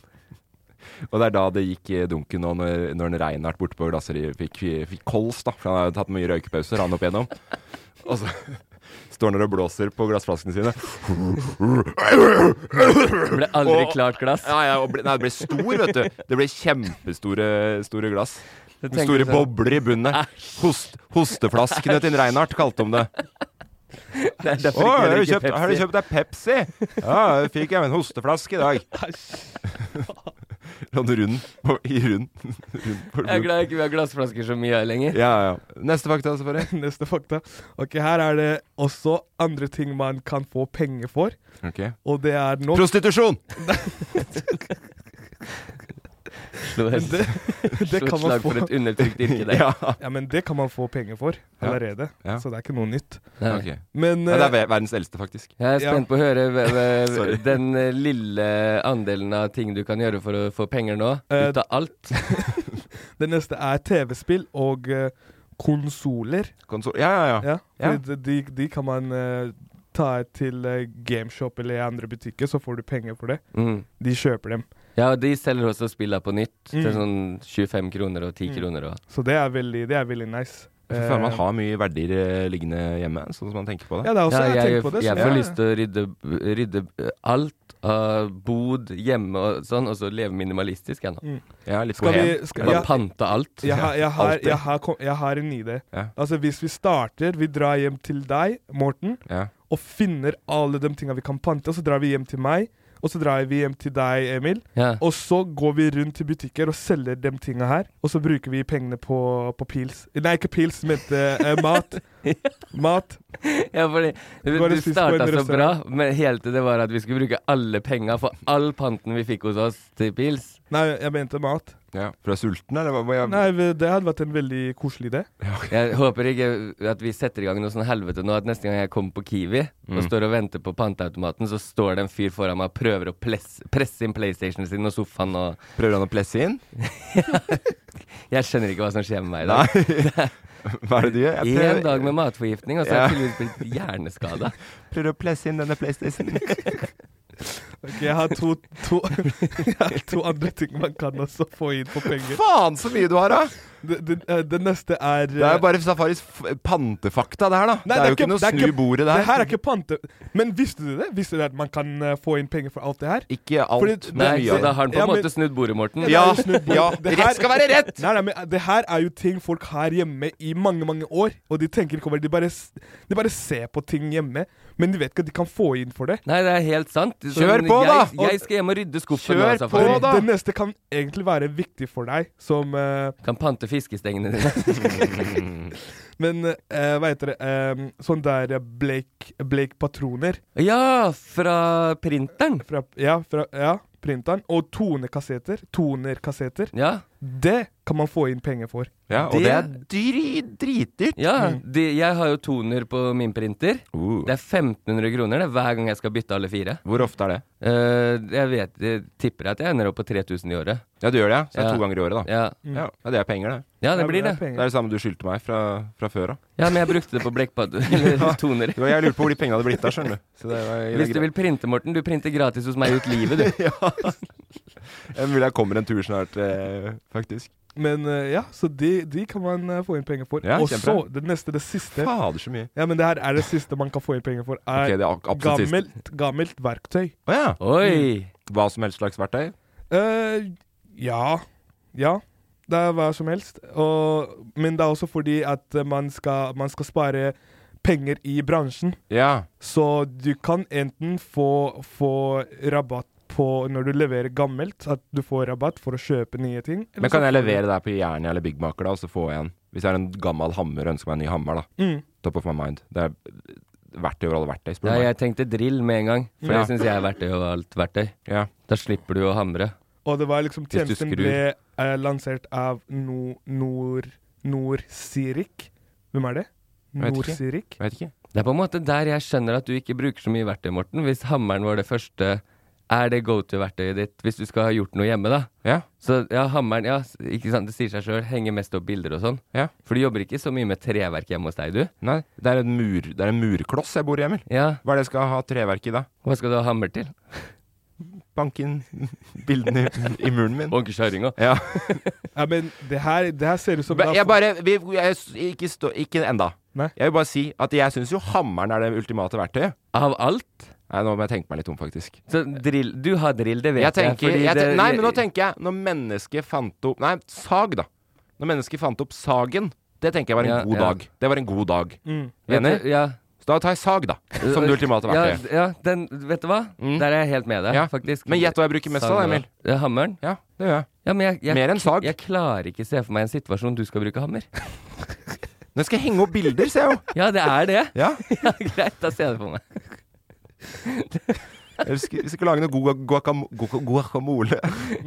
Speaker 3: Og det er da det gikk i dunken nå, når, når en Reinhardt borte på glasseriet fikk, fikk kols, da. For han har jo tatt mye røykepauser, han opp igjennom. Og så står han der og blåser på glassflaskene sine.
Speaker 6: Det ble aldri
Speaker 3: Og-
Speaker 6: klart glass.
Speaker 3: Ja, ja, og ble, nei, det ble stor, vet du. Det ble kjempestore store glass. Med
Speaker 6: tenker
Speaker 3: store
Speaker 6: jeg.
Speaker 3: bobler i bunnen. der. Host, hosteflaskene til Reinhardt kalte de det.
Speaker 6: Det er
Speaker 3: Å,
Speaker 6: derfor ikke
Speaker 3: har du
Speaker 6: jeg drikker
Speaker 3: kjøpt, har du
Speaker 6: Pepsi.
Speaker 3: kjøpt deg Pepsi? Ja, jeg fikk jeg med en hosteflaske i dag. Sånn rund på, i rund. rund på
Speaker 6: Jeg er
Speaker 3: rund.
Speaker 6: glad ikke vi har glassflasker så mye lenger.
Speaker 3: Ja, ja. Neste fakta, selvfølgelig.
Speaker 4: Neste fakta. Ok, Her er det også andre ting man kan få penger for.
Speaker 3: Ok.
Speaker 4: Og det er nå
Speaker 3: Prostitusjon!
Speaker 6: Slå et,
Speaker 4: det, det
Speaker 6: slå et
Speaker 4: kan man
Speaker 6: slag
Speaker 4: få
Speaker 6: for et undertrykt yrke der.
Speaker 3: Ja.
Speaker 4: Ja, men det kan man få penger for
Speaker 3: Ja.
Speaker 4: allerede.
Speaker 3: Ja.
Speaker 4: Så det er ikke noe nytt.
Speaker 6: Nei.
Speaker 3: Ok.
Speaker 4: Men
Speaker 3: Ja, det er
Speaker 4: eh,
Speaker 3: ver- verdens eldste, faktisk.
Speaker 6: Jeg er
Speaker 4: Ja.
Speaker 6: spent på å høre hva- hva-
Speaker 3: Sorry.
Speaker 6: den eh, lille andelen av ting du kan gjøre for å få penger nå.
Speaker 4: Eh,
Speaker 6: Ut av alt.
Speaker 4: det neste er TV-spill og eh, konsoler.
Speaker 3: Konsol... Ja, ja, ja.
Speaker 4: Ja.
Speaker 3: Ah. Ja.
Speaker 4: Fordi De, de kan man eh, ta til eh, gameshop eller i andre butikker, så får du penger for det.
Speaker 6: Mm.
Speaker 4: De kjøper dem.
Speaker 6: Ja, og de selger også spilla på nytt. Til
Speaker 4: Mm.
Speaker 6: sånn 25 kroner og 10
Speaker 4: Mm.
Speaker 6: kroner og
Speaker 4: Så det er veldig, det er veldig nice.
Speaker 3: Jeg føler man
Speaker 4: Eh,
Speaker 3: har mye verdier eh, liggende hjemme, sånn som man tenker på det.
Speaker 4: ja, det er også,
Speaker 6: Ja,
Speaker 4: Altså, jeg,
Speaker 6: jeg,
Speaker 4: tenker på det.
Speaker 6: jeg
Speaker 4: så-
Speaker 6: får
Speaker 4: Ja.
Speaker 6: lyst til å rydde, rydde alt av bod, hjemme og sånn, og så leve minimalistisk, jeg nå.
Speaker 3: Ja, litt
Speaker 4: Skal
Speaker 3: bohem.
Speaker 4: vi, skal,
Speaker 6: Bare
Speaker 4: ja,
Speaker 6: pante alt.
Speaker 4: jeg, har- jeg, har,
Speaker 3: Alltid.
Speaker 4: jeg, har, kom- jeg har en idé.
Speaker 3: Ja.
Speaker 4: Altså Hvis vi starter Vi drar hjem til deg, Morten,
Speaker 3: Ja.
Speaker 4: og finner alle de tinga vi kan pante, og så drar vi hjem til meg, og så drar vi hjem til deg, Emil.
Speaker 6: Ja.
Speaker 4: Og så går vi rundt til butikker og selger de tinga her. Og så bruker vi pengene på, på pils. Nei, ikke pils, men eh, mat. Mat.
Speaker 6: Ja, fordi
Speaker 4: Går
Speaker 6: du,
Speaker 4: og
Speaker 6: du
Speaker 4: spiser på
Speaker 6: starta
Speaker 4: en
Speaker 6: så bra,
Speaker 4: restaurant.
Speaker 6: men helt til det var at vi skulle bruke alle penga for all panten vi fikk hos oss til pils.
Speaker 4: Nei, jeg mente mat.
Speaker 3: Ja. For du er sulten, eller? hva- hva-
Speaker 4: Nei, Det hadde vært en veldig koselig idé.
Speaker 6: Jeg håper ikke at vi setter i gang noe sånn helvete nå, at neste gang jeg kommer på Kiwi og står og venter på panteautomaten, så står det en fyr foran meg og prøver å pless, presse inn PlayStationen sin og sofaen og
Speaker 3: Prøver han å plesse inn?
Speaker 6: Jeg skjønner ikke hva som skjer med meg i dag.
Speaker 3: Nei. Hva er det du gjør? Jeg
Speaker 6: Én
Speaker 3: prøver,
Speaker 6: dag med matforgiftning, og så er jeg
Speaker 3: Ja.
Speaker 6: tydeligvis blitt hjerneskada.
Speaker 3: prøver å plesse inn denne PlayStation.
Speaker 4: Ok, Jeg har to, to, jeg har to andre ting man kan også få inn for penger.
Speaker 3: Faen så mye du har, da!
Speaker 4: Det, det, eh, det neste er eh,
Speaker 3: Det er jo bare Safaris f pantefakta, det her, da.
Speaker 4: Nei,
Speaker 3: det er jo ikke noe
Speaker 4: det er
Speaker 3: snu bordet, det
Speaker 4: Det her
Speaker 3: her.
Speaker 4: er ikke pante... Men visste du det? Visste du at man kan eh, få inn penger for alt det her?
Speaker 3: Ikke alt,
Speaker 4: Fordi det-
Speaker 3: men
Speaker 6: Nei,
Speaker 3: mye
Speaker 6: så
Speaker 3: av
Speaker 6: da
Speaker 3: det.
Speaker 6: har han på
Speaker 4: Ja,
Speaker 6: en
Speaker 4: men-
Speaker 6: måte snudd bordet, Morten.
Speaker 3: Ja,
Speaker 4: det er jo snudd på-
Speaker 3: ja.
Speaker 4: det her-
Speaker 3: Rett skal være rett!
Speaker 4: Nei, nei, men eh, det her er jo ting folk har hjemme i mange, mange år. Og de tenker ikke over det. De bare, s- de bare ser på ting hjemme, men de vet ikke at de kan få inn for det.
Speaker 6: Nei, det er helt sant.
Speaker 3: Kjør på, da!
Speaker 6: jeg, Jeg skal hjem og rydde skuffen.
Speaker 3: Kjør
Speaker 6: nå, altså, Safari.
Speaker 3: på, da!
Speaker 4: Det neste kan egentlig være viktig for deg, som eh,
Speaker 6: Kan pante fiskestengene dine.
Speaker 4: Men eh, hva heter det eh, Sånn der eh, Blake, Blake-patroner
Speaker 6: Ja, fra printeren.
Speaker 4: fra Ja, fra Ja. printeren. Og tonekassetter. Tonerkassetter.
Speaker 6: Ja.
Speaker 4: Det kan man få inn penger for.
Speaker 3: Ja, og det, er dri- dritdyrt.
Speaker 6: ja
Speaker 3: Mm.
Speaker 6: de, jeg har jo toner på min printer.
Speaker 3: Uh,
Speaker 6: Det er 1500 kroner det, hver gang jeg skal bytte alle fire.
Speaker 3: hvor ofte er det?
Speaker 6: Eh, jeg vet, jeg tipper at jeg ender opp på 3000 i året.
Speaker 3: Ja, du gjør det, ja? Så det er
Speaker 6: Ja.
Speaker 3: to ganger i året, da.
Speaker 6: Ja,
Speaker 3: Ja, ja det er penger, det.
Speaker 6: ja det
Speaker 4: Ja,
Speaker 6: blir det.
Speaker 4: er penger.
Speaker 3: Det er det samme du skyldte meg fra, fra før av.
Speaker 6: Ja, men jeg brukte det på blekkpad eller toner.
Speaker 3: Det var- Jeg lurte på hvor de pengene hadde blitt av, skjønner du. Så det var
Speaker 6: Hvis du
Speaker 3: greit.
Speaker 6: vil printe, Morten, du printer gratis hos meg ut livet, du.
Speaker 3: Det er Mulig jeg kommer en tur snart, eh, faktisk.
Speaker 4: Men eh, ja, så de, de kan man eh, få inn penger for.
Speaker 3: Ja,
Speaker 4: og så,
Speaker 3: kjempebra.
Speaker 4: det neste, det siste
Speaker 3: Fader, så mye.
Speaker 4: Ja, men det her er det siste man kan få inn penger for.
Speaker 3: Ok,
Speaker 4: Er
Speaker 3: det er ak- absolutt sist.
Speaker 4: gammelt, gammelt verktøy.
Speaker 3: Å ja. Mm.
Speaker 6: Oi!
Speaker 3: Hva som helst slags verktøy?
Speaker 4: Eh, ja. Ja. Det er hva som helst. Og, men det er også fordi at eh, man skal, man skal spare penger i bransjen.
Speaker 3: Ja.
Speaker 4: Så du kan enten få, få rabatt på når du leverer gammelt, at du får rabatt for å kjøpe nye ting. eller sånn-
Speaker 3: Men kan
Speaker 4: så
Speaker 3: jeg
Speaker 4: får du-
Speaker 3: levere det her på Jernia eller Byggmaker, da, og så få en? Hvis jeg har en gammel hammer og ønsker meg en ny hammer, da.
Speaker 4: Mm.
Speaker 3: Top of my mind. Det er verktøy over alle verktøy, spør
Speaker 6: Ja,
Speaker 3: du
Speaker 6: jeg
Speaker 3: meg.
Speaker 6: tenkte drill med en gang, for
Speaker 3: Ja.
Speaker 6: det syns jeg er verktøy og alt verktøy.
Speaker 3: Ja.
Speaker 6: Da slipper du å hamre.
Speaker 4: Og det var liksom
Speaker 6: Hvis du
Speaker 4: tjenesten
Speaker 6: skrur.
Speaker 4: ble eh, lansert av no, Nord Nord-Sirik. Hvem er det?
Speaker 3: vet ikke.
Speaker 4: Nord-Sirik?
Speaker 3: Jeg vet ikke.
Speaker 6: Det er på en måte der jeg skjønner at du ikke bruker så mye verktøy, Morten. Hvis hammeren var det første, er det go to-verktøyet ditt hvis du skal ha gjort noe hjemme, da?
Speaker 3: Ja.
Speaker 6: Så ja, hammeren, ja, s- ikke sant, det sier seg sjøl, henger mest opp bilder og sånn.
Speaker 3: Ja.
Speaker 6: For du jobber ikke så mye med treverk hjemme hos deg, du?
Speaker 3: Nei, det er en, mur, det er en murkloss jeg bor i, Emil.
Speaker 6: Ja,
Speaker 3: Hva er det jeg skal ha treverk i da?
Speaker 6: hva skal du ha hammer til?
Speaker 3: Banke inn bildene i, i muren min.
Speaker 6: Åkerkjerringa.
Speaker 3: Ja.
Speaker 4: Ja, men det her, det her ser ut som det
Speaker 3: Men
Speaker 4: er
Speaker 3: Jeg
Speaker 4: for-
Speaker 3: bare vi, jeg, ikke, stå, ikke enda.
Speaker 4: Nei.
Speaker 3: Jeg vil bare si at jeg syns jo hammeren er det ultimate verktøyet.
Speaker 6: Av alt?
Speaker 3: Nei, nå må jeg tenke meg litt om, faktisk.
Speaker 6: Så drill Du har drill, det vet
Speaker 3: Jeg
Speaker 6: jeg.
Speaker 3: tenker,
Speaker 6: fordi
Speaker 3: jeg
Speaker 6: det-
Speaker 3: ten, nei, men nå tenker jeg Når mennesket fant opp Nei, sag, da. Når mennesket fant opp sagen, det tenker jeg var en
Speaker 6: Ja,
Speaker 3: god
Speaker 6: ja.
Speaker 3: dag. Det var en god dag.
Speaker 4: Mm.
Speaker 3: Enig?
Speaker 6: Vet du- Ja.
Speaker 3: Så da tar jeg sag, da. Som det ultimate
Speaker 6: Ja,
Speaker 3: verktøyet.
Speaker 6: ja den, vet du hva?
Speaker 3: Mm.
Speaker 6: Der er jeg helt med deg,
Speaker 3: Ja.
Speaker 6: faktisk.
Speaker 3: Men gjett hva jeg bruker mest av, da, Emil.
Speaker 6: Ja, hammeren?
Speaker 3: Ja, det gjør jeg.
Speaker 6: Ja, men jeg, jeg,
Speaker 3: Mer enn sag.
Speaker 6: jeg klarer ikke se for meg en situasjon du skal bruke hammer.
Speaker 3: Nå skal jeg henge opp bilder, ser jeg jo.
Speaker 6: Ja, det er det.
Speaker 3: Ja.
Speaker 6: Ja, greit, da ser jeg det for meg.
Speaker 3: Eller skal- Vi skal lage noe gua- guacamo- guaca- guacamole.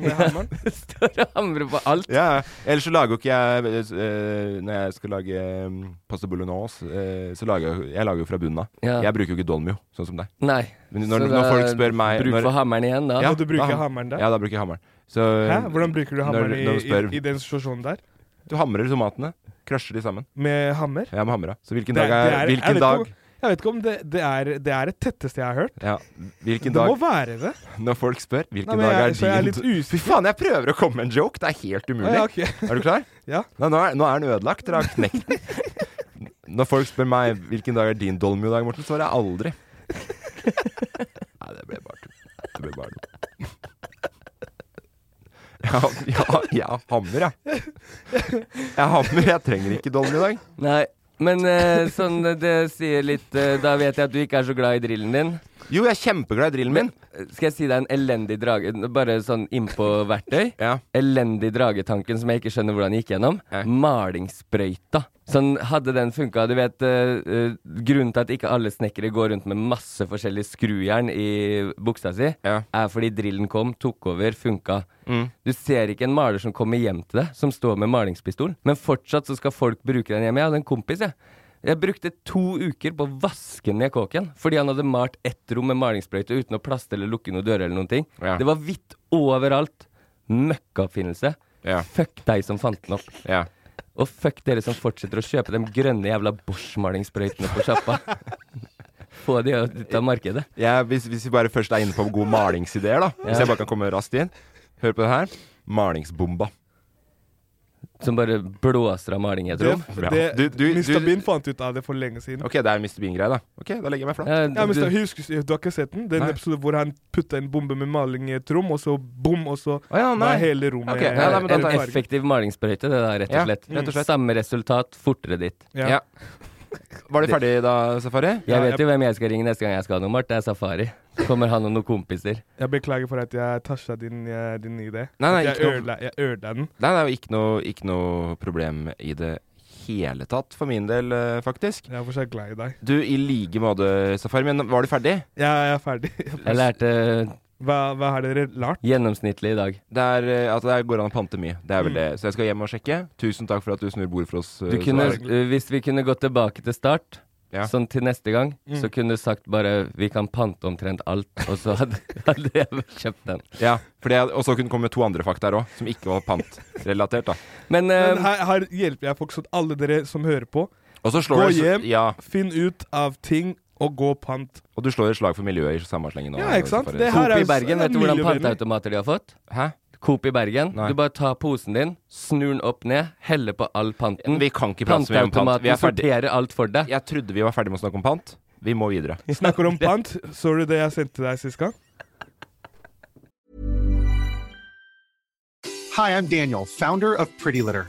Speaker 4: med hammeren.
Speaker 6: Det står og hamrer på alt.
Speaker 3: Ja, ja. ellers så lager jo ikke jeg eh, Når jeg skal lage um, pasta bolognese, eh, så lager jeg Jeg lager jo fra bunnen av.
Speaker 6: Ja.
Speaker 3: Jeg bruker jo ikke dolmio, sånn som deg.
Speaker 6: Nei.
Speaker 3: Men når,
Speaker 6: Så
Speaker 3: når
Speaker 6: da-
Speaker 3: folk spør meg
Speaker 6: Bruk
Speaker 3: når,
Speaker 6: for hammeren igjen, da.
Speaker 4: Og du bruker
Speaker 3: da ham-
Speaker 4: hammeren der?
Speaker 3: Ja, da bruker jeg hammeren. Så
Speaker 4: Hæ? Hvordan bruker du hammeren
Speaker 3: når- når du
Speaker 4: i,
Speaker 3: spør-
Speaker 4: i, i den situasjonen der?
Speaker 3: du hamrer tomatene. Krasjer de sammen.
Speaker 4: Med hammer?
Speaker 3: Jeg må hamre. Så hvilken
Speaker 4: Det er-
Speaker 3: dag er,
Speaker 4: det er- jeg vet
Speaker 3: Hvilken dag
Speaker 4: ikke Jeg vet ikke om det, det, er, det er det tetteste jeg har hørt.
Speaker 3: ja, Hvilken
Speaker 4: Det må
Speaker 3: dag
Speaker 4: være det.
Speaker 3: Når folk spør hvilken
Speaker 4: Nei, men
Speaker 3: dag
Speaker 4: jeg,
Speaker 3: er
Speaker 4: så jeg er
Speaker 3: din
Speaker 4: litt
Speaker 3: Fy
Speaker 4: usikker.
Speaker 3: faen, jeg prøver å komme med en joke! Det er helt umulig.
Speaker 4: Ja, ok.
Speaker 3: Er du klar?
Speaker 4: Ja.
Speaker 3: Nei, nå, er, nå er den ødelagt. Dere har knekt den. Når folk spør meg hvilken dag er din dolmio-dag, Morten, svarer jeg aldri. Nei, det ble bare tull. Det ble bare tull. Ja, ja, jeg hammer, jeg. Jeg hammer, jeg trenger ikke dolmio-dag.
Speaker 6: Nei. Men eh, sånn eh, det sier litt eh, Da vet jeg at du ikke er så glad i drillen din.
Speaker 3: Jo, jeg er kjempeglad i drillen min.
Speaker 6: Eh, Skal jeg si deg en elendig drage Bare sånn innpå verktøy.
Speaker 3: Ja.
Speaker 6: Elendig dragetanken som jeg ikke skjønner hvordan jeg gikk gjennom.
Speaker 3: Nei.
Speaker 6: Malingssprøyta. Sånn, hadde den funka Du vet, eh, eh, grunnen til at ikke alle snekkere går rundt med masse forskjellig skrujern i buksa si,
Speaker 3: Ja. Mm.
Speaker 6: er fordi drillen kom, tok over, funka. Du ser ikke en maler som kommer hjem til deg, som står med malingspistol, men fortsatt så skal folk bruke den hjemme. Jeg hadde en kompis, jeg. Jeg brukte to uker på å vaske ned kåken fordi han hadde malt ett rom med malingssprøyte uten å plaste eller lukke noen dører eller noen ting.
Speaker 3: Ja.
Speaker 6: Det var hvitt overalt. Møkkaoppfinnelse.
Speaker 3: Ja.
Speaker 6: Fuck deg som fant den opp.
Speaker 3: Ja.
Speaker 6: Og fuck dere som fortsetter å kjøpe de grønne jævla Bosch-malingssprøytene på sjappa. Få de ut av markedet.
Speaker 3: Jeg, hvis, hvis vi bare først er inne på gode malingsideer, da. Hvis jeg bare kan komme raskt inn. Hør på det her. Malingsbomba.
Speaker 6: Som bare blåser av maling i et
Speaker 4: Det,
Speaker 6: rom.
Speaker 3: Ja.
Speaker 4: det,
Speaker 3: Du- du-
Speaker 4: Mr.
Speaker 3: du-
Speaker 4: Bean fant ut av det for lenge siden.
Speaker 3: Ok, det er en Mr. Bean-greie, da. Ok, da legger jeg meg flat.
Speaker 6: Ja,
Speaker 4: Ja, men
Speaker 6: du-
Speaker 4: husk, du har ikke sett den? Den
Speaker 3: Nei.
Speaker 4: episoden hvor han putta en bombe med maling i et rom, og så bom, og så
Speaker 3: Å ja,
Speaker 4: var
Speaker 3: nei.
Speaker 4: hele rommet
Speaker 3: Ok, ja,
Speaker 6: Ja,
Speaker 3: nei, men da
Speaker 6: en
Speaker 3: tar jeg-
Speaker 6: effektiv malingssprøyte, det der, rett og
Speaker 3: Ja,
Speaker 6: slett.
Speaker 3: rett og slett.
Speaker 6: Samme resultat, fortere ditt.
Speaker 4: Ja.
Speaker 3: Ja. Var du ferdig da, Safari?
Speaker 6: Jeg
Speaker 4: Ja,
Speaker 6: vet
Speaker 4: jeg-
Speaker 6: jo hvem jeg skal ringe neste gang jeg skal ha noe, Mart. Det er Safari. Kommer han og noen kompiser.
Speaker 4: Jeg beklager for at jeg tasja din, eh, din idé.
Speaker 3: Nei, nei,
Speaker 4: jeg
Speaker 3: ikke noe-
Speaker 4: ødela jeg ødela den.
Speaker 3: Nei, det er jo ikke noe, ikke noe problem i det hele tatt, for min del, eh, faktisk.
Speaker 4: Jeg er fortsatt glad i deg.
Speaker 3: Du, i like måte, Safari, men var du ferdig?
Speaker 4: Jeg er ferdig.
Speaker 6: Jeg lærte
Speaker 4: Hva, hva har dere lært?
Speaker 6: Gjennomsnittlig i dag.
Speaker 3: Det er, eh, at det går an å pante mye. Det
Speaker 4: Mm.
Speaker 3: er vel det. Så jeg skal hjem og sjekke. Tusen takk for at du snur bordet for oss. eh,
Speaker 6: Du kunne,
Speaker 3: Sara.
Speaker 6: eh, hvis vi kunne gått tilbake til start,
Speaker 3: Ja.
Speaker 6: sånn til neste gang,
Speaker 4: Mm.
Speaker 6: så kunne du sagt bare 'vi kan pante omtrent alt', og så hadde, hadde jeg kjøpt den.
Speaker 3: Ja, for det, Og så kunne det komme to andre fakta her òg, som ikke var pantrelatert. da
Speaker 6: Men, eh,
Speaker 4: Men her, her hjelper jeg folk, sånn at alle dere som hører på,
Speaker 3: Og så
Speaker 4: Gå
Speaker 3: slår du
Speaker 4: hjem.
Speaker 3: Ja,
Speaker 4: finn ut av ting og gå pant.
Speaker 3: og du slår et slag for miljøet i samme slengen. nå,
Speaker 4: Ja, ikke sant?
Speaker 3: Safari.
Speaker 4: Det her
Speaker 6: Coop
Speaker 4: er
Speaker 6: i Bergen, vet du hvordan panteautomater de har fått?
Speaker 3: Hæ?
Speaker 6: Coop i Bergen.
Speaker 3: Nei.
Speaker 6: Du bare tar posen din, snur den opp ned, heller på all panten.
Speaker 3: Vi kan ikke prate så mye om pant. Vi
Speaker 6: Panteautomaten
Speaker 3: er ferdig.
Speaker 6: sorterer alt for deg.
Speaker 3: Jeg trodde vi var ferdig med å snakke om pant. Vi må videre.
Speaker 4: Snakker om pant. Så du det jeg sendte deg sist gang?
Speaker 10: Hi, I'm Daniel, founder of Pretty Litter.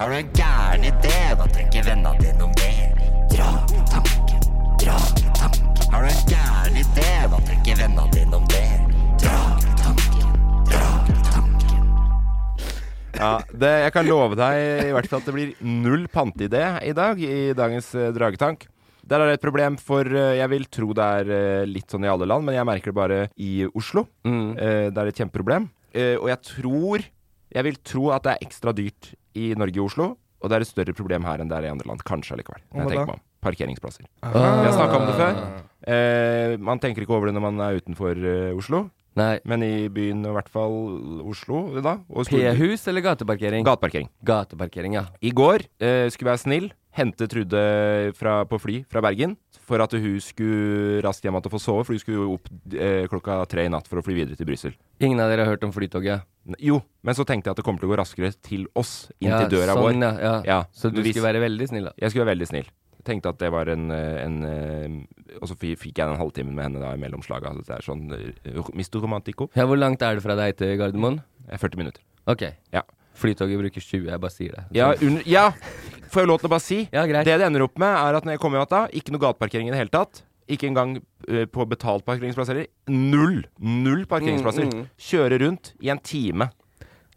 Speaker 11: Har du en gæren idé, da tenker vennene dine om mer. Dra tanken, dra tanken. Har du en gæren idé, da tenker vennene dine om mer. Dra tanken, dra tanken.
Speaker 3: Ja, det, jeg kan love deg i hvert fall at det blir null panteidé i dag i dagens eh, dragetank. Der er det et problem, for eh, jeg vil tro det er eh, litt sånn i alle land, men jeg merker det bare i Oslo.
Speaker 4: Mm.
Speaker 3: Eh, det er et kjempeproblem. Eh, og jeg tror Jeg vil tro at det er ekstra dyrt i Norge og Oslo, og det er et større problem her enn det er i andre land. Kanskje allikevel. når
Speaker 4: Hva
Speaker 3: Jeg
Speaker 4: da?
Speaker 3: tenker meg om. Parkeringsplasser.
Speaker 6: Ah.
Speaker 3: Vi har snakka om det før. Eh, man tenker ikke over det når man er utenfor eh, Oslo,
Speaker 6: Nei.
Speaker 3: men i byen, og i hvert fall Oslo, da og storby-
Speaker 6: P-hus eller gateparkering?
Speaker 3: Gateparkering.
Speaker 6: Gateparkering, ja.
Speaker 3: I går eh, skulle være snill, hente Trude fra, på fly fra Bergen for at hun skulle raskt hjem til å få sove, for hun skulle jo opp eh, klokka tre i natt for å fly videre til Brussel.
Speaker 6: Ingen av dere har hørt om Flytoget?
Speaker 3: N- Jo, men så tenkte jeg at det kommer til å gå raskere til oss, inn
Speaker 6: Ja,
Speaker 3: til døra
Speaker 6: sånn,
Speaker 3: vår.
Speaker 6: Ja, ja.
Speaker 3: Ja,
Speaker 6: Så du
Speaker 3: men hvis-
Speaker 6: skulle være veldig snill, da.
Speaker 3: Jeg skulle være veldig snill. Tenkte at det var en, eh, en eh, Og så fi- fikk jeg den halvtimen med henne da i mellomslaga. Så det er sånn eh, Mister Romantico.
Speaker 6: Ja, hvor langt er det fra deg til Gardermoen?
Speaker 3: Eh, 40 minutter.
Speaker 6: Ok.
Speaker 3: Ja.
Speaker 6: Flytoget bruker 20, jeg bare sier det.
Speaker 3: Ja, under, ja, får jeg lov til å bare si.
Speaker 6: Ja, greit.
Speaker 3: Det det ender opp med, er at når jeg kommer hjem da, ikke noe gateparkering i det hele tatt. Ikke engang eh, på betalt parkeringsplass heller. Null! Null parkeringsplasser.
Speaker 6: Mm, mm.
Speaker 3: Kjøre rundt i en time.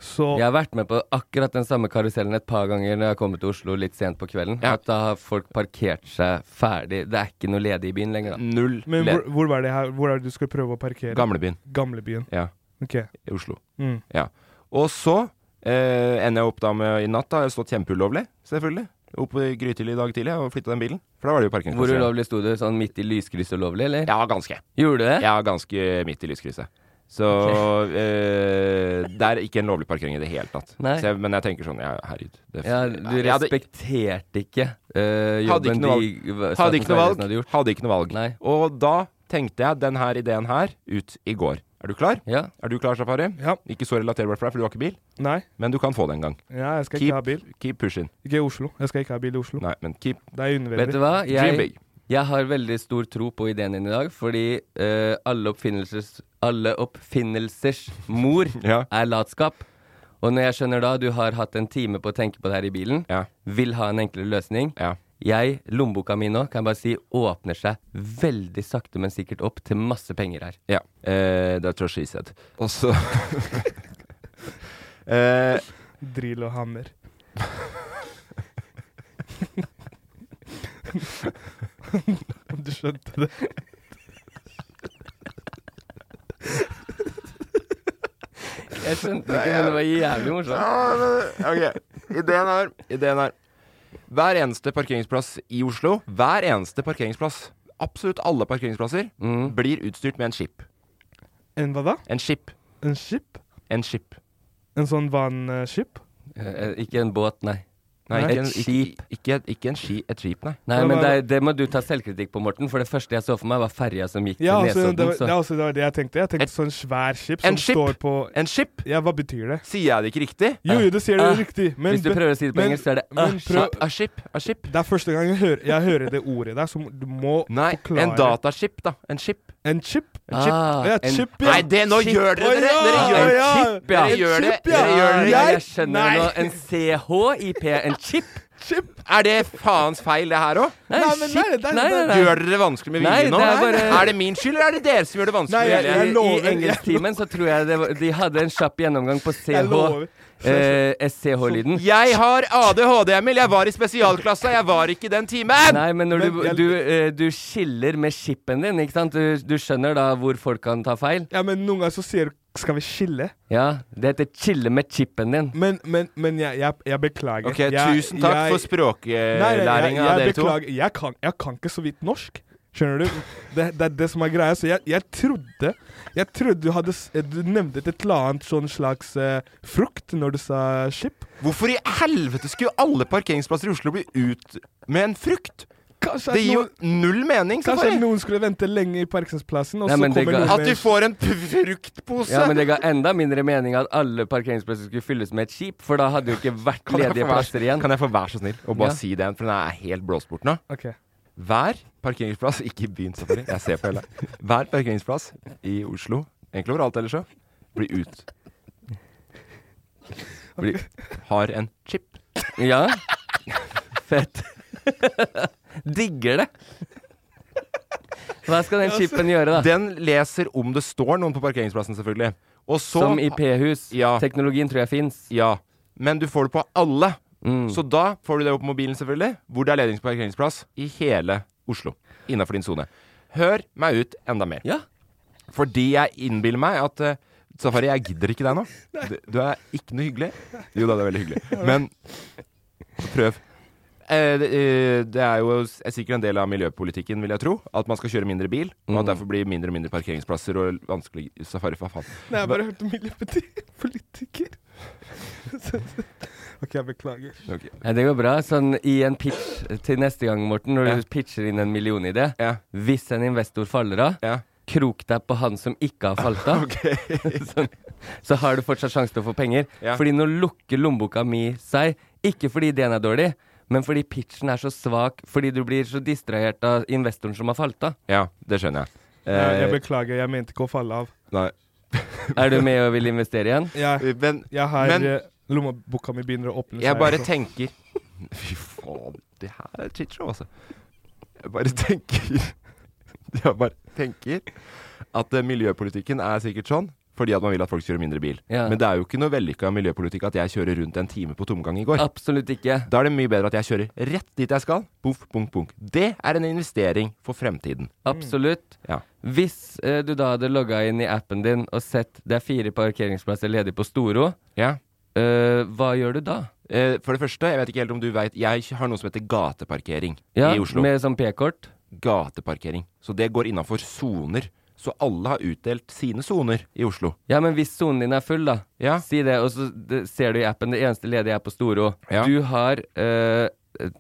Speaker 4: Så
Speaker 6: Jeg har vært med på akkurat den samme karusellen et par ganger når jeg har kommet til Oslo litt sent på kvelden. At da har folk parkert seg ferdig. Det er ikke noe ledig i byen lenger, da.
Speaker 3: Null.
Speaker 4: Men
Speaker 3: Le-
Speaker 4: hvor, hvor var det her? Hvor er det du skulle prøve å parkere?
Speaker 3: Gamlebyen.
Speaker 4: Gamlebyen.
Speaker 3: Ja.
Speaker 4: Ok.
Speaker 3: I Oslo.
Speaker 4: Mm.
Speaker 3: Ja. Og så eh, ender jeg opp da med i natt, da. Jeg har stått kjempeulovlig, selvfølgelig. Opp i grytidlig i dag tidlig og flytta den bilen. For da var det jo
Speaker 6: Hvor
Speaker 3: parkeringsplasser.
Speaker 6: ulovlig sto du? Sånn midt i lyskrysset ulovlig, eller?
Speaker 3: Ja, ganske.
Speaker 6: Gjorde du det?
Speaker 3: Ja, ganske midt i lyskrysset. Så eh, det er ikke en lovlig parkering i det hele tatt.
Speaker 6: Nei.
Speaker 3: Så jeg, men jeg tenker sånn ja, Herregud. Det,
Speaker 6: Ja, du
Speaker 3: Jeg hadde-
Speaker 6: respekterte ikke eh,
Speaker 3: Hadde
Speaker 6: jobben
Speaker 3: ikke noe valg.
Speaker 6: de v-
Speaker 3: Hadde ikke
Speaker 6: Statens
Speaker 3: noe valg.
Speaker 6: vegvesen hadde gjort.
Speaker 3: Hadde ikke noe valg. Og da tenkte jeg den her ideen her ut i går. Er du klar?
Speaker 6: Ja.
Speaker 3: Er du klar, Safari?
Speaker 4: Ja.
Speaker 3: Ikke så relaterbart for deg, for du har ikke bil.
Speaker 4: Nei.
Speaker 3: Men du kan få det en gang.
Speaker 4: Ja, jeg skal
Speaker 3: keep,
Speaker 4: ikke ha bil.
Speaker 3: Keep pushing.
Speaker 4: Ikke i Oslo. Jeg skal ikke ha bil i Oslo.
Speaker 3: Nei, men keep
Speaker 4: Det er unødvendig.
Speaker 6: Vet du hva?
Speaker 3: Dream
Speaker 6: Jeg,
Speaker 3: big.
Speaker 6: jeg har veldig stor tro på ideen din i dag, fordi eh, alle, oppfinnelsers, alle oppfinnelsers mor
Speaker 3: Ja.
Speaker 6: er latskap. Og når jeg skjønner da du har hatt en time på å tenke på det her i bilen, vil ha en enklere løsning Jeg, Lommeboka mi nå, kan jeg bare si åpner seg veldig sakte, men sikkert opp til masse penger her.
Speaker 3: Ja. Eh, that's what she said. Og så eh,
Speaker 4: Drill og hammer. Om du skjønte det.
Speaker 6: Jeg skjønte ikke, men det var jævlig morsomt.
Speaker 3: ok, ideen er, ideen er Hver eneste parkeringsplass i Oslo, hver eneste parkeringsplass, absolutt alle parkeringsplasser,
Speaker 6: Mm.
Speaker 3: blir utstyrt med en chip.
Speaker 4: En hva da?
Speaker 3: En chip.
Speaker 4: En skip?
Speaker 3: En chip.
Speaker 4: En sånn vannskip?
Speaker 6: Eh, ikke en båt, nei.
Speaker 3: Nei,
Speaker 6: Et
Speaker 3: ikke, en,
Speaker 6: skip.
Speaker 3: Ikke, ikke, ikke en ski, et skip, nei.
Speaker 6: Nei, men det, er- det må du ta selvkritikk på, Morten. For det første jeg så for meg, var ferja som gikk
Speaker 4: Ja,
Speaker 6: til
Speaker 4: altså,
Speaker 6: Nesodden.
Speaker 4: det, var,
Speaker 6: så.
Speaker 4: det, er også, det var det jeg tenkte. Jeg tenkte sånn svær skip som
Speaker 3: En skip?
Speaker 4: står på
Speaker 3: En skip?
Speaker 4: Ja, hva betyr det?
Speaker 3: Sier jeg det ikke riktig?
Speaker 4: Jo, jo, du sier det
Speaker 3: Ah.
Speaker 4: riktig. Men,
Speaker 6: Hvis du prøver å si det på
Speaker 4: men-
Speaker 6: engelsk, så er det
Speaker 4: men
Speaker 6: a
Speaker 4: prøv-
Speaker 3: A ship, a ship.
Speaker 4: Det er første gang jeg hører, jeg hører det ordet der, så du må
Speaker 3: Nei,
Speaker 4: forklare.
Speaker 3: en dataship, da. En chip.
Speaker 4: En chip?
Speaker 3: En chip.
Speaker 4: Ah, ja,
Speaker 3: en-
Speaker 4: chip, ja.
Speaker 3: Nei, det, nå
Speaker 4: Chip.
Speaker 3: gjør dere
Speaker 4: Å,
Speaker 3: det!
Speaker 4: ja,
Speaker 3: Dere gjør
Speaker 4: ja, ja.
Speaker 3: det! Dere
Speaker 4: En
Speaker 3: gjør det!
Speaker 4: chip, ja.
Speaker 3: Dere gjør det.
Speaker 6: Ja,
Speaker 4: Jeg-
Speaker 6: jeg skjønner
Speaker 4: Nei.
Speaker 6: nå. En CHIP, en chip.
Speaker 3: Er det faens feil, det her òg?
Speaker 6: Nei, Nei, men nei, det- det- Nei, nei, nei.
Speaker 3: Gjør dere det vanskelig med
Speaker 6: Nei,
Speaker 3: vilje nå?
Speaker 6: det er bare-
Speaker 3: Er det min skyld, eller er det dere som gjør det vanskelig med vilje?
Speaker 6: I- I engelsktimen så tror jeg det var, de hadde en kjapp gjennomgang på
Speaker 3: Jeg
Speaker 6: CH.
Speaker 3: lover.
Speaker 6: Eh, SCH-lyden.
Speaker 3: Jeg har ADHD, Emil. Jeg var i spesialklassa. Jeg var ikke i den timen.
Speaker 6: Nei, men når du,
Speaker 3: Men jeg-
Speaker 6: du, eh, du skiller med shipen din, ikke sant? Du, du skjønner da hvor folk kan ta feil?
Speaker 4: Ja, men noen ganger så sier du Skal vi skille?
Speaker 6: Ja, det heter chille med chipen din.
Speaker 4: Men, men, men jeg, jeg, jeg beklager.
Speaker 3: Ok,
Speaker 4: jeg,
Speaker 3: tusen takk for språklæringen
Speaker 4: Nei, nei, jeg-
Speaker 3: av
Speaker 4: jeg
Speaker 3: dere to.
Speaker 4: beklager. Jeg kan, jeg kan ikke så vidt norsk. Skjønner du? Det, det er det som er greia. Så jeg, jeg trodde Jeg trodde du hadde s- eh, Du nevnte et eller annet sånn slags eh, frukt når du sa skip.
Speaker 3: Hvorfor i helvete skulle alle parkeringsplasser i Oslo bli ut med en frukt?
Speaker 4: Kanskje at
Speaker 3: Det gir jo
Speaker 4: noen-
Speaker 3: null mening.
Speaker 4: Kanskje
Speaker 3: Safari.
Speaker 4: noen skulle vente lenge i parkeringsplassen, og
Speaker 6: Nei,
Speaker 4: så
Speaker 6: men det
Speaker 4: kommer
Speaker 6: ga-
Speaker 4: noen
Speaker 6: At
Speaker 4: med-
Speaker 6: du
Speaker 3: får en fruktpose!
Speaker 6: Ja, men det ga enda mindre mening at alle parkeringsplasser skulle fylles med et skip, for da hadde jo ikke vært
Speaker 3: Kan jeg få
Speaker 6: ledige
Speaker 3: være-
Speaker 6: plasser igjen.
Speaker 3: Kan jeg få være så snill og bare
Speaker 6: Ja.
Speaker 3: si den, for den er helt blåst bort nå?
Speaker 4: Ok.
Speaker 3: Hver parkeringsplass Ikke i byen, selvfølgelig. Jeg ser på hele. Hver parkeringsplass i Oslo, egentlig overalt ellers òg, blir ut. Blir, har en chip.
Speaker 6: Ja. Fett. Digger det. Hva skal den chipen gjøre, da?
Speaker 3: Den leser om det står noen på parkeringsplassen, selvfølgelig. Og så,
Speaker 6: Som i p-hus.
Speaker 3: Ja.
Speaker 6: Teknologien tror jeg fins.
Speaker 3: Ja. Men du får det på alle. Så da får du det opp på mobilen, selvfølgelig, hvor det er ledig parkeringsplass i hele Oslo. Innafor din sone. Hør meg ut enda mer. Fordi jeg innbiller meg at eh, Safari, jeg gidder ikke deg nå. Du, du er ikke noe hyggelig. Jo da, det er veldig hyggelig. Men prøv. Eh, det, eh, det er jo s- er sikkert en del av miljøpolitikken, vil jeg tro. At man skal kjøre mindre bil, og at derfor blir mindre og mindre parkeringsplasser og vanskelig safari. Hva faen?
Speaker 4: Nei, jeg bare hørte miljøpolitiker. OK, jeg beklager.
Speaker 6: Ja, det går bra. Sånn i en pitch til neste gang, Morten, når
Speaker 4: Ja.
Speaker 6: du pitcher inn en millionidé. Hvis en investor faller av, krok deg på han som ikke har falt av. sånn, så har du fortsatt sjanse til å få penger.
Speaker 3: Ja.
Speaker 6: Fordi nå lukker lommeboka mi seg. Ikke fordi ideen er dårlig, men fordi pitchen er så svak fordi du blir så distrahert av investoren som har falt av.
Speaker 3: Ja, det skjønner jeg.
Speaker 4: Jeg,
Speaker 6: Eh,
Speaker 4: jeg beklager, jeg mente ikke å falle av.
Speaker 3: Nei.
Speaker 6: er du med og vil investere igjen?
Speaker 4: Jeg,
Speaker 3: men,
Speaker 4: jeg har
Speaker 6: men-
Speaker 4: eh, Lommeboka mi begynner å åpne seg.
Speaker 3: Jeg bare tenker Fy faen, det her er et shitshow, altså. Jeg bare tenker Jeg bare tenker at eh, miljøpolitikken er sikkert sånn fordi at man vil at folk kjører mindre bil.
Speaker 6: Ja.
Speaker 3: Men det er jo ikke noe vellykka miljøpolitikk at jeg kjører rundt en time på tomgang i går.
Speaker 6: Absolutt ikke.
Speaker 3: Da er det mye bedre at jeg kjører rett dit jeg skal. Boff, bunk, bunk. Det er en investering for fremtiden.
Speaker 6: Absolutt.
Speaker 3: Ja.
Speaker 6: Hvis eh, du da hadde logga inn i appen din og sett det er fire parkeringsplasser ledig på Storo, eh, hva gjør du da?
Speaker 3: Eh, For det første, jeg vet ikke helt om du veit Jeg har noe som heter gateparkering
Speaker 6: Ja,
Speaker 3: i Oslo.
Speaker 6: med sånn p-kort?
Speaker 3: Gateparkering. Så det går innafor soner. så alle har utdelt sine soner i Oslo.
Speaker 6: Ja, men hvis sonen din er full, da, si det, og så d- ser du i appen det eneste ledige er på Storo. Du har eh,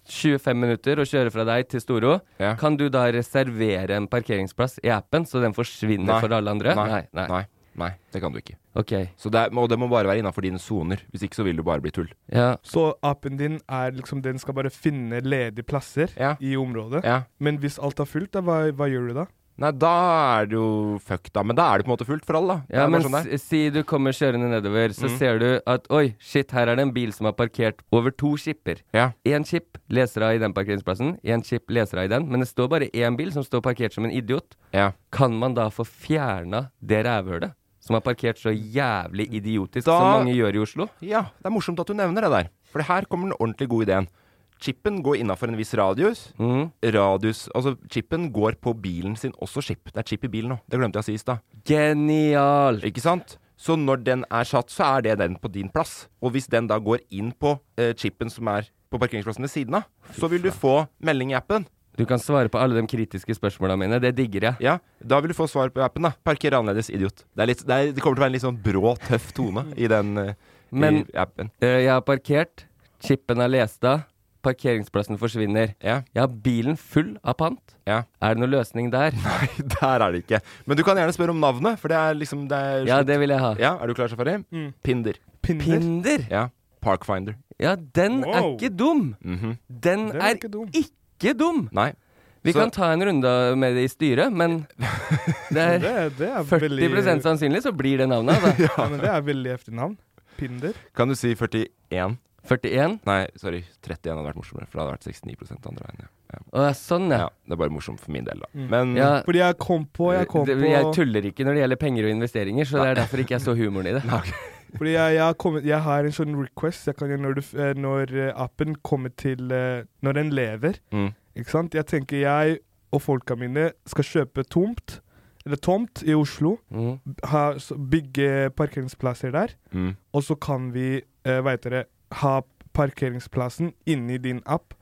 Speaker 6: 25 minutter å kjøre fra deg til Storo. Kan du da reservere en parkeringsplass i appen, så den forsvinner
Speaker 3: Nei.
Speaker 6: for alle andre?
Speaker 3: Nei.
Speaker 6: nei.
Speaker 3: Nei. Nei, det kan du ikke.
Speaker 6: Ok.
Speaker 3: Så det er, og det må bare være innafor dine soner. Hvis ikke så vil du bare bli tull.
Speaker 6: Ja.
Speaker 4: Så appen din er liksom, den skal bare finne ledige plasser i området.
Speaker 3: Ja.
Speaker 4: Men hvis alt er fullt, da, hva, hva gjør du da?
Speaker 3: Nei, da er det jo fuck, da. Men da er det på en måte fullt for alle, da.
Speaker 6: Ja,
Speaker 3: det
Speaker 6: men
Speaker 3: er bare sånn det er.
Speaker 6: s- si du kommer kjørende nedover, så
Speaker 3: Mm.
Speaker 6: ser du at oi, shit, her er det en bil som har parkert over to skipper. Én chip leser av i den parkeringsplassen, én chip leser av i den, men det står bare én bil som står parkert som en idiot. Kan man da få fjerna det rævhølet? Som har parkert så jævlig idiotisk
Speaker 3: Da-
Speaker 6: som mange gjør i Oslo?
Speaker 3: Ja, det er morsomt at du nevner det der. For her kommer den ordentlig gode ideen. Chipen går innafor en viss radius. Radius Altså, chipen går på bilen sin også chip. Det er chip i bilen nå. Det glemte jeg å si i stad.
Speaker 6: Genialt!
Speaker 3: Ikke sant? Så når den er satt, så er det den på din plass. Og hvis den da går inn på eh, chipen som er på parkeringsplassen ved siden av, så vil du få melding i appen.
Speaker 6: Du kan svare på alle de kritiske spørsmåla mine. Det digger jeg.
Speaker 3: Ja, Da vil du få svar på appen, da. Parker annerledes, idiot. Det, er litt, det, er, det kommer til å være en litt sånn brå, tøff tone i den eh,
Speaker 6: Men
Speaker 3: i appen.
Speaker 6: eh, jeg har parkert, chipen er lest av, parkeringsplassen forsvinner. Jeg har bilen full av pant. Er det noen løsning der?
Speaker 3: Nei, der er det ikke. Men du kan gjerne spørre om navnet, for det er liksom det er
Speaker 6: Ja,
Speaker 3: slutt.
Speaker 6: det vil jeg ha.
Speaker 3: Ja, Er du klar, Safari?
Speaker 6: Mm.
Speaker 3: Pinder.
Speaker 4: Pinder?
Speaker 3: Ja. Parkfinder.
Speaker 6: Ja, den er
Speaker 3: Wow.
Speaker 6: ikke dum!
Speaker 3: Mhm.
Speaker 6: Den,
Speaker 4: Den er
Speaker 6: er
Speaker 4: ikke
Speaker 6: ikke
Speaker 4: dum.
Speaker 6: dum!
Speaker 3: Nei.
Speaker 6: Vi
Speaker 3: Så-
Speaker 6: kan ta en runde med det i styret, men det er,
Speaker 4: Det er- det er
Speaker 6: 40
Speaker 4: veldig-
Speaker 6: sannsynlig så blir det navnet. altså. Da.
Speaker 4: Ja, men det er veldig efternavn. Pinder.
Speaker 3: Kan du si 41?
Speaker 6: 41?
Speaker 3: Nei, sorry. 31 hadde vært morsommere, for det hadde vært 69 andre veien. Ja. Ja.
Speaker 6: sånn, ja.
Speaker 3: Det er bare morsomt for min del, da.
Speaker 4: Mm.
Speaker 3: Men
Speaker 4: Fordi jeg kom på Jeg, kom
Speaker 6: Det-
Speaker 4: på,
Speaker 6: jeg tuller ikke når det gjelder penger og investeringer, så det er derfor ikke jeg så humoren i det.
Speaker 4: fordi jeg, jeg, har kommet, jeg har en sånn request jeg kan, gjøre når, du, f- eh, når eh, appen kommer til eh, Når den lever.
Speaker 3: Mm.
Speaker 4: Ikke sant? Jeg tenker jeg og folka mine skal kjøpe tomt, eller tomt i Oslo.
Speaker 6: Mm.
Speaker 4: ha, så bygge parkeringsplasser der,
Speaker 3: Mm.
Speaker 4: og så kan vi, eh, hva heter det, ha parkeringsplassen inni din app,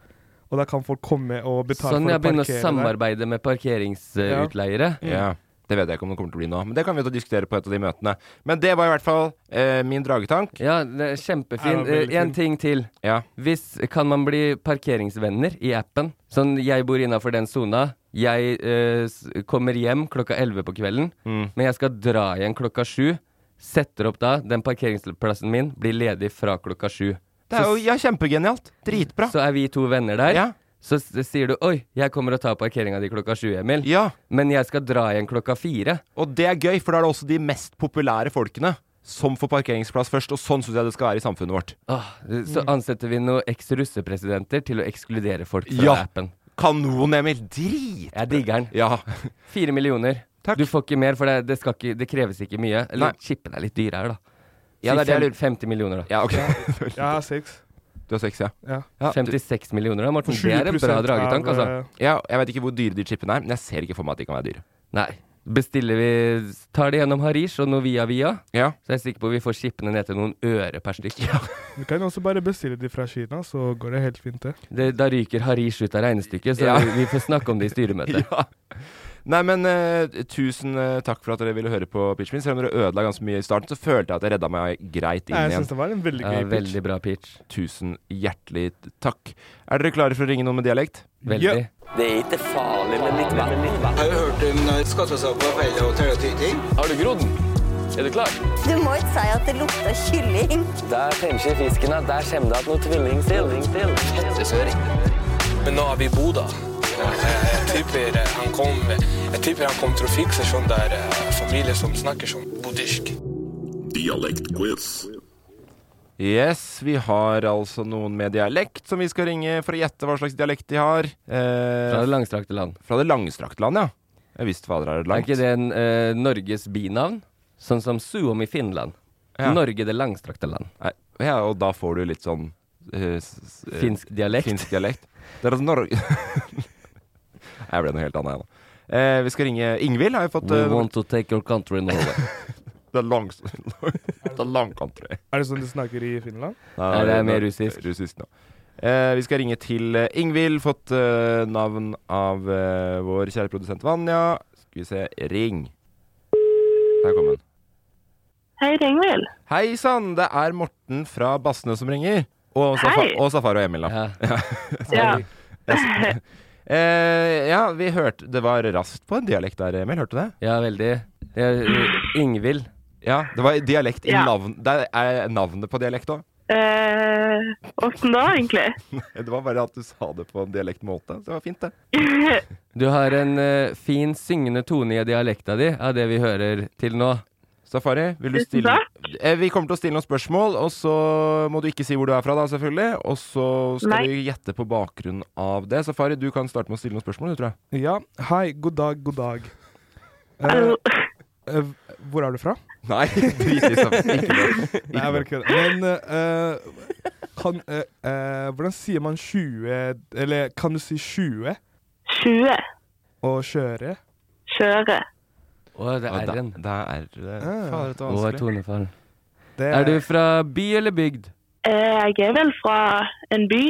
Speaker 4: og da kan folk komme og betale
Speaker 6: Sånn
Speaker 4: for
Speaker 6: jeg
Speaker 4: å
Speaker 6: begynner å
Speaker 4: parkere der.
Speaker 6: samarbeide med parkeringsutleiere.
Speaker 3: Ja. Ja. Det vet jeg ikke om det kommer til å bli nå, men det kan vi jo diskutere på et av de møtene. Men det var i hvert fall eh, min dragetank.
Speaker 6: Ja, det er kjempefin.
Speaker 3: Ja, det var veldig
Speaker 6: Eh, en
Speaker 3: fin.
Speaker 6: ting til.
Speaker 3: Ja.
Speaker 6: Hvis kan man bli parkeringsvenner i appen? Sånn, jeg bor innafor den sona. Jeg eh, s- kommer hjem klokka 11 på kvelden,
Speaker 3: Mm.
Speaker 6: men jeg skal dra igjen klokka 7. Setter opp da den parkeringsplassen min, blir ledig fra klokka 7.
Speaker 3: Det er jo ja, kjempegenialt. Dritbra.
Speaker 6: Så er vi to venner der.
Speaker 3: Ja.
Speaker 6: Så s- sier du 'oi, jeg kommer og tar parkeringa di klokka 7, Emil', men jeg skal dra igjen klokka 4.
Speaker 3: Og det er gøy, for da er det også de mest populære folkene som får parkeringsplass først, og sånn syns jeg det skal være i samfunnet vårt.
Speaker 6: Ah,
Speaker 3: Mm.
Speaker 6: så ansetter vi noen eks-russepresidenter til å ekskludere folk fra
Speaker 3: Ja.
Speaker 6: appen.
Speaker 3: Kanon, Emil! Drit!
Speaker 6: Jeg digger den.
Speaker 3: Ja.
Speaker 6: Fire millioner. Du får ikke mer, for det, det, skal ikke, det kreves ikke mye. Eller
Speaker 3: Nei.
Speaker 6: chipen er litt dyr her, da. Si
Speaker 3: Ja, det er det jeg
Speaker 6: fem- 50 millioner, da.
Speaker 3: Ja, ok.
Speaker 4: Jeg har seks.
Speaker 3: Du har seks, ja.
Speaker 4: Ja.
Speaker 3: Ja, du-
Speaker 6: 56 millioner, da, Morten. Det er en bra dragetank, altså.
Speaker 4: eh,
Speaker 3: Ja, jeg vet ikke hvor dyre de chipene er, men jeg ser ikke for meg at de kan være dyre.
Speaker 6: Nei. Bestiller vi Tar det gjennom Harish og Novia Via, så er jeg sikker på vi får chipene ned til noen øre per stykk.
Speaker 4: Du kan også bare bestille de fra Kina, så går det helt fint det.
Speaker 6: Det, da ryker Harish ut av regnestykket, så
Speaker 3: Ja.
Speaker 6: vi får snakke om det i styremøtet.
Speaker 3: Ja. Nei, men eh, tusen eh, takk for at dere ville høre på pitchen min. Selv om dere ødela ganske mye i starten, så følte jeg at jeg redda meg greit inn
Speaker 4: Nei, jeg
Speaker 3: igjen.
Speaker 4: synes det var en veldig
Speaker 6: Ja,
Speaker 4: gøy pitch.
Speaker 6: veldig bra pitch.
Speaker 3: Tusen hjertelig takk. Er dere klare for å ringe noen med dialekt?
Speaker 6: Veldig. Ja.
Speaker 12: Det er ikke farlig, men litt vann.
Speaker 13: Har du hørt om skattesaker, feil og tøyting? Har du grodd? Er du klar?
Speaker 14: Du må ikke si at det lukter kylling.
Speaker 12: Der tenker fisken at der kommer det at noe tvilling til.
Speaker 15: Men nå er vi i Bodø. Jeg tipper han kom Jeg tipper han kom til å fikse sånn der eh, familie som snakker sånn bodisk.
Speaker 3: Dialektquiz. Yes, vi har altså noen med dialekt som vi skal ringe for å gjette hva slags dialekt de har. Eh,
Speaker 6: Fra det langstrakte land.
Speaker 3: Fra det langstrakte land, ja. Jeg visste fader er det
Speaker 6: Er
Speaker 3: langt.
Speaker 6: ikke det en, eh, Norges binavn? Sånn som Suomi Finland.
Speaker 3: Ja.
Speaker 6: Norge det langstrakte land.
Speaker 3: Nei, ja, og da får du litt sånn eh, s- s- eh,
Speaker 6: Finsk dialekt.
Speaker 3: Finsk dialekt. Det er altså Norge Nei, Jeg ble noe helt annet, jeg nå. Eh, vi skal ringe Ingvild, har jeg fått
Speaker 6: We
Speaker 3: eh,
Speaker 6: want to take your country Norway.
Speaker 3: Det er langs... det er lang country.
Speaker 4: Er det sånn de snakker i Finland?
Speaker 6: Nei, det er mer russisk.
Speaker 3: nå. Eh, vi skal ringe til eh, Ingvild, fått eh, navn av eh, vår kjære produsent Vanja. Skal vi se Ring. Der kom den.
Speaker 16: Hei, Ringvild.
Speaker 3: Hei sann, det er Morten fra Bassene som ringer. Og, Safa
Speaker 16: Hei.
Speaker 3: og Safari og Emil, da. Ja.
Speaker 16: Ja.
Speaker 3: Eh, ja, vi hørte Det var raskt på en dialekt der, Emil. Hørte du det?
Speaker 6: Ja, veldig. Ingvild.
Speaker 3: Ja, det var dialekt i
Speaker 16: Ja.
Speaker 3: navn. Det er navnet på dialekt òg.
Speaker 16: Eh, Åssen da, egentlig?
Speaker 3: Det var bare at du sa det på en dialektmåte. Så det var fint, det.
Speaker 6: Du har en eh, fin syngende tone i dialekta di, av det vi hører til nå.
Speaker 3: Safari, vil du stille Eh, Vi kommer til å stille noen spørsmål, og så må du ikke si hvor du er fra, da, selvfølgelig. Og så skal
Speaker 4: Nei.
Speaker 3: vi gjette på bakgrunn av det. Safari, du kan starte med å stille noen spørsmål, du, tror jeg.
Speaker 4: Ja, hei, god dag, god dag. Eh,
Speaker 3: Hallo.
Speaker 4: eh, hvor er du fra?
Speaker 3: Nei, drit i Sam- ikke lov. Ikke
Speaker 4: Nei, jeg
Speaker 3: lov.
Speaker 4: bare kødder. Men eh, kan, eh, eh, hvordan sier man 20 Eller kan du si 20?
Speaker 16: 20.
Speaker 4: Og kjøre?
Speaker 16: Kjøre.
Speaker 6: Å, det er
Speaker 3: da-
Speaker 6: R-en.
Speaker 3: Det er R. Fader, dette var
Speaker 6: Og
Speaker 3: vanskelig.
Speaker 6: tonefall.
Speaker 4: Ah. Det
Speaker 6: Er du fra by eller bygd?
Speaker 16: Eh, jeg er vel fra en by,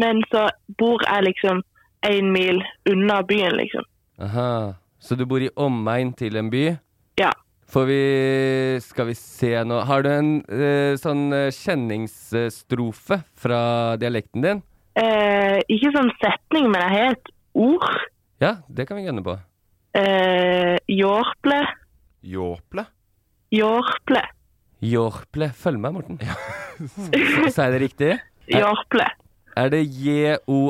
Speaker 16: men så bor jeg liksom én mil unna byen, liksom.
Speaker 6: Aha. Så du bor i omegn til en by?
Speaker 16: Ja.
Speaker 6: Får vi Skal vi se nå Har du en eh, sånn eh, kjenningsstrofe fra dialekten din?
Speaker 16: Eh, ikke sånn setning, men jeg har et ord.
Speaker 6: Ja, det kan vi gønne på.
Speaker 16: Eh, jorple.
Speaker 3: Jåple?
Speaker 16: Jorple.
Speaker 6: Jorple. Følg meg, Morten. Sa jeg det riktig?
Speaker 16: Jorple.
Speaker 6: Er det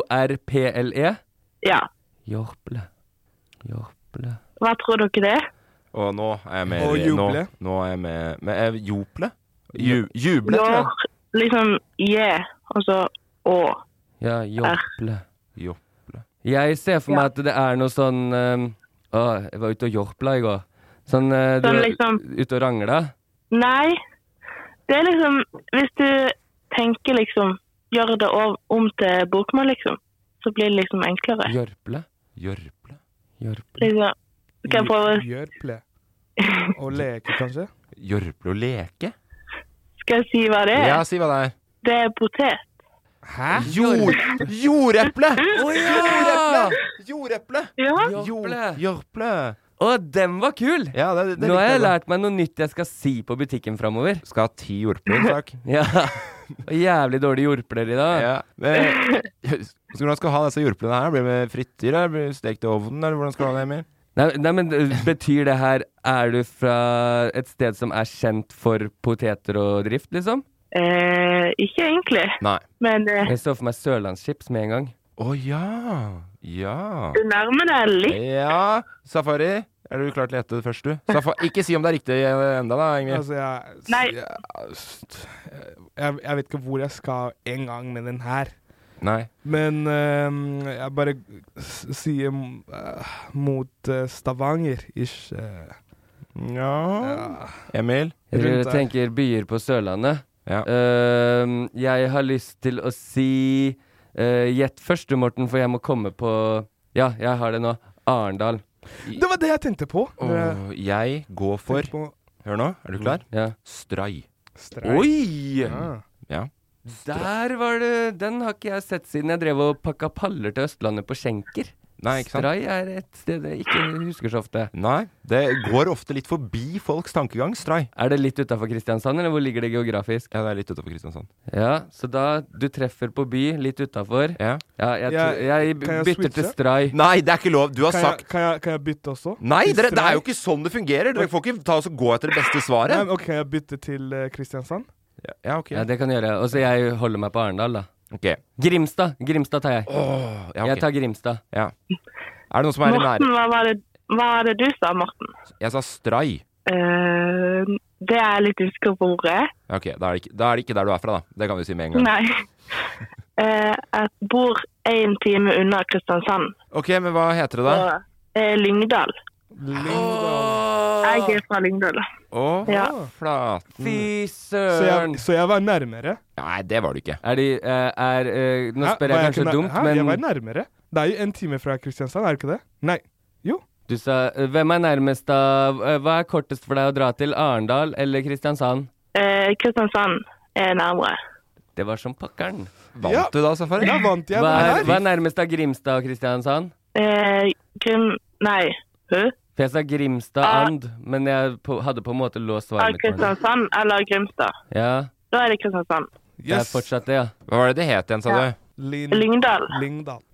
Speaker 6: J-O-R-P-L-E?
Speaker 16: Ja.
Speaker 6: E? Jorple. Jorple.
Speaker 16: Hva tror dere det? er?
Speaker 3: Og nå er jeg med.
Speaker 6: Og juble.
Speaker 3: Nå, nå er jeg med. Men er jople? Ju, juble, tror
Speaker 16: Jor,
Speaker 3: jeg.
Speaker 16: liksom je, og så å.
Speaker 6: Ja, jorple.
Speaker 3: Jorple.
Speaker 6: Jeg ser for meg at det er noe sånn um, Å, jeg var ute og jorpla i går. Sånn eh, du
Speaker 16: Sånn
Speaker 6: var
Speaker 16: liksom-
Speaker 6: ute og rangla?
Speaker 16: Nei, det er liksom Hvis du tenker liksom Gjør det ov- om til bokmål, liksom, så blir det liksom enklere.
Speaker 6: Jorple?
Speaker 3: Jørple?
Speaker 16: Liksom, skal jeg prøve
Speaker 4: Jørple. Og leke, kanskje?
Speaker 3: Jørple og leke?
Speaker 16: Skal jeg si hva det er?
Speaker 3: Ja, si hva det er.
Speaker 16: Det er potet.
Speaker 4: Hæ?
Speaker 3: Jord, jordeple!
Speaker 16: Jordeple!
Speaker 3: Jorple. Jørple.
Speaker 16: Liksom-
Speaker 6: Å, den var kul!
Speaker 3: Ja, det, det
Speaker 6: Nå har
Speaker 3: likte
Speaker 6: jeg
Speaker 3: da.
Speaker 6: lært meg noe nytt jeg skal si på butikken framover.
Speaker 3: Skal ha ti jorpler, takk.
Speaker 6: ja. Og Jævlig dårlige jorpler i dag.
Speaker 3: Ja. Eh, hvordan skal du ha disse jorplene her? Blir det med frityr? eller Blir det stekt i ovnen? Eller hvordan skal du ha det, Emil?
Speaker 6: Nei, nei, men eh, betyr det her Er du fra et sted som er kjent for poteter og drift, liksom?
Speaker 16: Eh, ikke egentlig,
Speaker 3: Nei.
Speaker 16: men eh,
Speaker 6: Jeg så for meg sørlandschips med en gang.
Speaker 3: Å ja. Ja.
Speaker 16: du nærmer deg litt.
Speaker 3: Ja, Safari. Er du klar til å gjette det først, du? Safa ikke si om det er riktig eh, enda da, Ingrid.
Speaker 4: Altså, jeg,
Speaker 16: Nei.
Speaker 4: Jeg, jeg, jeg vet ikke hvor jeg skal en gang med den her.
Speaker 3: Nei.
Speaker 4: Men ehm, jeg bare s- sier mm, eh, mot eh, Stavanger, ish. eh.
Speaker 3: Ja. Emil?
Speaker 6: Jeg
Speaker 4: Rundt der.
Speaker 6: tenker byer på Sørlandet. Øhm, jeg har lyst til å si øh, Gjett først du, Morten, for jeg må komme på Ja, jeg har det nå. Arendal.
Speaker 4: Det var det jeg tenkte på.
Speaker 3: Åh, jeg går for Hør nå, er du klar?
Speaker 6: Ja.
Speaker 3: Stray.
Speaker 4: Stray.
Speaker 6: Oi!
Speaker 3: Ja.
Speaker 6: Der var det Den har ikke jeg sett siden jeg drev og pakka paller til Østlandet på skjenker.
Speaker 3: Nei, ikke sant?
Speaker 6: Stray er et sted jeg ikke husker så ofte.
Speaker 3: Nei, det går ofte litt forbi folks tankegang, Stray.
Speaker 6: Er det litt utafor Kristiansand, eller hvor ligger det geografisk?
Speaker 3: Ja, det er litt utafor Kristiansand.
Speaker 6: Ja, så da Du treffer på by, litt utafor.
Speaker 3: Ja.
Speaker 6: jeg,
Speaker 4: Jeg-
Speaker 6: tror- jeg b-
Speaker 4: kan jeg
Speaker 6: bytter til
Speaker 4: switche?
Speaker 6: Stray.
Speaker 3: Nei, det er ikke lov! Du har
Speaker 4: Kan jeg,
Speaker 3: sagt
Speaker 4: kan, jeg, kan jeg bytte også?
Speaker 3: Nei,
Speaker 4: Til
Speaker 3: dere, det er
Speaker 4: Stray?
Speaker 3: jo ikke sånn det fungerer! Dere får ikke ta oss og gå etter det beste
Speaker 4: Nei,
Speaker 3: svaret.
Speaker 4: men ok, jeg bytter til eh, Kristiansand.
Speaker 3: Ja, ok.
Speaker 6: Ja, det kan du gjøre. Og så jeg holder meg på Arendal, da.
Speaker 3: Ok.
Speaker 6: Grimstad! Grimstad tar jeg.
Speaker 3: Åh, ja, ok.
Speaker 6: Jeg tar Grimstad.
Speaker 3: Ja. Er det noen som er i
Speaker 16: Morten,
Speaker 3: nærheten?
Speaker 16: hva var, det, hva var det du sa, Morten?
Speaker 3: Jeg sa Stray.
Speaker 16: Eh, det er jeg litt usikker på hvor jeg er.
Speaker 3: Ja, Ok, da er, det ikke, da er det ikke der du er fra, da. Det kan vi si med en gang.
Speaker 16: Nei. Eh, jeg bor én time unna Kristiansand.
Speaker 3: Ok, men hva heter det da?
Speaker 16: Og, eh, Lyngdal. Jeg er fra Lyngdal.
Speaker 3: Å,
Speaker 16: Ja.
Speaker 3: flaten
Speaker 6: Fy
Speaker 4: Så
Speaker 6: søren!
Speaker 4: jeg, så jeg var nærmere.
Speaker 3: Nei, det var du ikke.
Speaker 6: Er de eh, er, eh, Nå
Speaker 4: Hæ,
Speaker 6: spør
Speaker 4: var
Speaker 6: jeg
Speaker 4: ikke
Speaker 6: kanskje
Speaker 4: nær-
Speaker 6: dumt,
Speaker 4: Hæ, Jeg var
Speaker 6: men
Speaker 4: nærmere. Det er jo en time fra Kristiansand, er det ikke det? Nei. Jo.
Speaker 6: du sa eh, Hvem er nærmest av eh, Hva er kortest for deg å dra til? Arendal eller Kristiansand?
Speaker 16: Eh, Kristiansand er nærmere.
Speaker 6: Det var som pakkeren.
Speaker 3: Vant du da, Safari?
Speaker 4: Ja, vant jeg.
Speaker 6: Hva
Speaker 4: Nei.
Speaker 6: er, hva er nærmest av Grimstad og Kristiansand?
Speaker 16: Eh, Grim... Nei. Hø? Ah.
Speaker 6: For jeg sa Grimstad-and, men jeg på, hadde på en måte låst
Speaker 16: Av
Speaker 6: svaret mitt. på det.
Speaker 16: Kristiansand eller Grimstad.
Speaker 6: Ja,
Speaker 16: Da er det Kristiansand.
Speaker 6: det er fortsatt det, ja.
Speaker 3: Hva var det det het igjen, sa
Speaker 16: Ja.
Speaker 3: du?
Speaker 16: Lyngdal.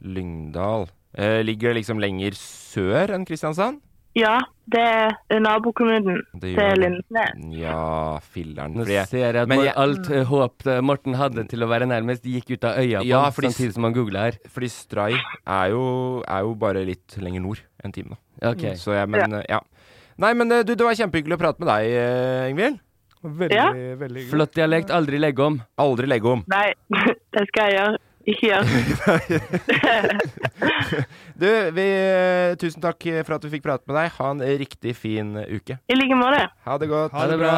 Speaker 3: Lyngdal. Eh, ligger det liksom lenger sør enn Kristiansand?
Speaker 16: Ja, det er nabokommunen
Speaker 3: Det gjør
Speaker 16: til
Speaker 3: det.
Speaker 16: Lindesnes.
Speaker 3: Ja, filler'n.
Speaker 6: Nå
Speaker 3: fordi jeg-
Speaker 6: ser jeg at
Speaker 3: Men
Speaker 6: Mor-
Speaker 3: jeg- Mm.
Speaker 6: alt eh, håp eh, Morten hadde til å være nærmest, gikk ut av øya på
Speaker 3: Ja,
Speaker 6: ham
Speaker 3: fordi-
Speaker 6: samtidig som han googla her.
Speaker 3: Fordi Stray er jo, er jo bare litt lenger nord enn timen, da.
Speaker 6: Ok.
Speaker 3: Mm, Så jeg, men, eh, ja. Nei, men eh, du, det var kjempehyggelig å prate med deg, eh, Ingvild.
Speaker 4: Veldig,
Speaker 16: Ja.
Speaker 4: veldig hyggelig.
Speaker 6: Flott dialekt, aldri legge om.
Speaker 3: Aldri legge om.
Speaker 16: Nei, det skal jeg gjøre. Ikke gjøre.
Speaker 3: Du, vi, eh, tusen takk for at vi fikk prate med deg. Ha en riktig fin uke.
Speaker 16: I like måte.
Speaker 3: Ha det godt.
Speaker 16: Ha det bra.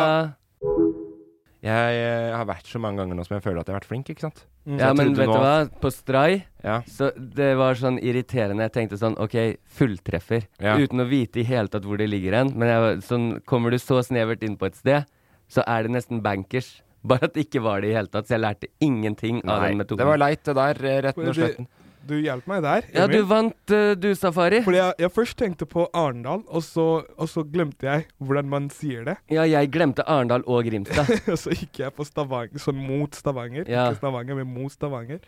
Speaker 3: Jeg eh, har vært så mange ganger nå som jeg føler at jeg har vært flink, ikke sant?
Speaker 4: Mm.
Speaker 3: Så
Speaker 6: Ja,
Speaker 3: jeg
Speaker 6: men
Speaker 3: trodde
Speaker 6: vet
Speaker 3: nå-
Speaker 6: du hva? På Stray,
Speaker 3: Ja.
Speaker 6: så det var sånn irriterende. Jeg tenkte sånn, ok, fulltreffer.
Speaker 3: Ja.
Speaker 6: Uten å vite i hele tatt hvor det ligger hen. Men jeg, var- sånn, kommer du så snevert inn på et sted, så er det nesten bankers. Bare at det ikke var det i hele tatt, så jeg lærte ingenting av
Speaker 3: Nei,
Speaker 6: den metoden.
Speaker 3: det var leit det der, eh, retten og sletten.
Speaker 4: Du hjalp meg der.
Speaker 6: Ja,
Speaker 4: Emil.
Speaker 6: du vant, eh, du, Safari.
Speaker 4: Fordi jeg, jeg først tenkte på Arendal, og, så- og så glemte jeg hvordan man sier det.
Speaker 6: Ja, jeg glemte Arendal og Grimstad.
Speaker 4: Og så gikk jeg på Stavanger, sånn mot Stavanger.
Speaker 6: Ja.
Speaker 4: Ikke Stavanger, men mot Stavanger.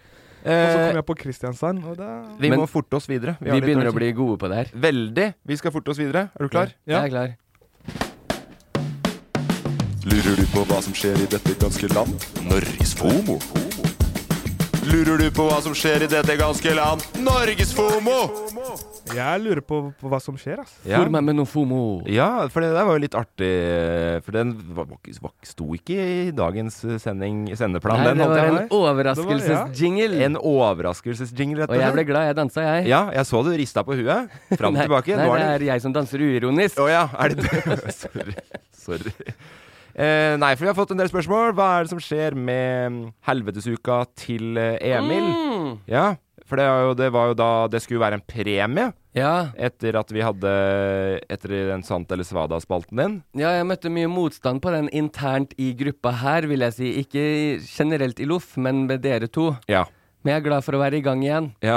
Speaker 4: og så
Speaker 3: Eh,
Speaker 4: kom jeg på Kristiansand, og da
Speaker 3: Vi
Speaker 6: Men
Speaker 3: må forte oss videre.
Speaker 6: vi begynner å bli gode på det her.
Speaker 3: Veldig. Vi skal forte oss videre. Er du klar?
Speaker 6: Jeg er klar.
Speaker 9: Lurer du på hva som skjer i dette ganske land? Norges FOMO. Lurer du på hva som skjer i dette ganske land? Norges FOMO!
Speaker 4: Jeg lurer på, på hva som skjer, ass.
Speaker 3: Ja.
Speaker 6: meg med noe FOMO.
Speaker 3: Ja, for det der var jo litt artig. eh, For den var, var, ikke- var, sto ikke i dagens eh, sending, sendeplan.
Speaker 6: Nei,
Speaker 3: den,
Speaker 6: det
Speaker 3: holdt
Speaker 6: var
Speaker 3: jeg
Speaker 6: en
Speaker 3: på.
Speaker 6: overraskelsesjingle.
Speaker 3: En overraskelsesjingle, rett
Speaker 6: Og jeg ble glad, jeg dansa, jeg.
Speaker 3: Ja, jeg så du rista på huet. Fram og
Speaker 6: Nei,
Speaker 3: tilbake.
Speaker 6: Nei,
Speaker 3: Nå
Speaker 6: det
Speaker 3: er
Speaker 6: er jeg som danser uironisk.
Speaker 3: Å ja, er det det? Sorry. Sorry. Eh, nei, for vi har fått en del spørsmål. Hva er det som skjer med mm, helvetesuka til eh, Emil?
Speaker 6: Mm.
Speaker 3: Ja, for det, er jo, det var jo da det skulle være en premie.
Speaker 6: Ja.
Speaker 3: Etter at vi hadde Etter den Sant eller svada-spalten din.
Speaker 6: Ja, jeg møtte mye motstand på den internt i gruppa her, vil jeg si. Ikke generelt i loff, men med dere to.
Speaker 3: Ja.
Speaker 6: Men jeg er glad for å være i gang igjen.
Speaker 3: Ja.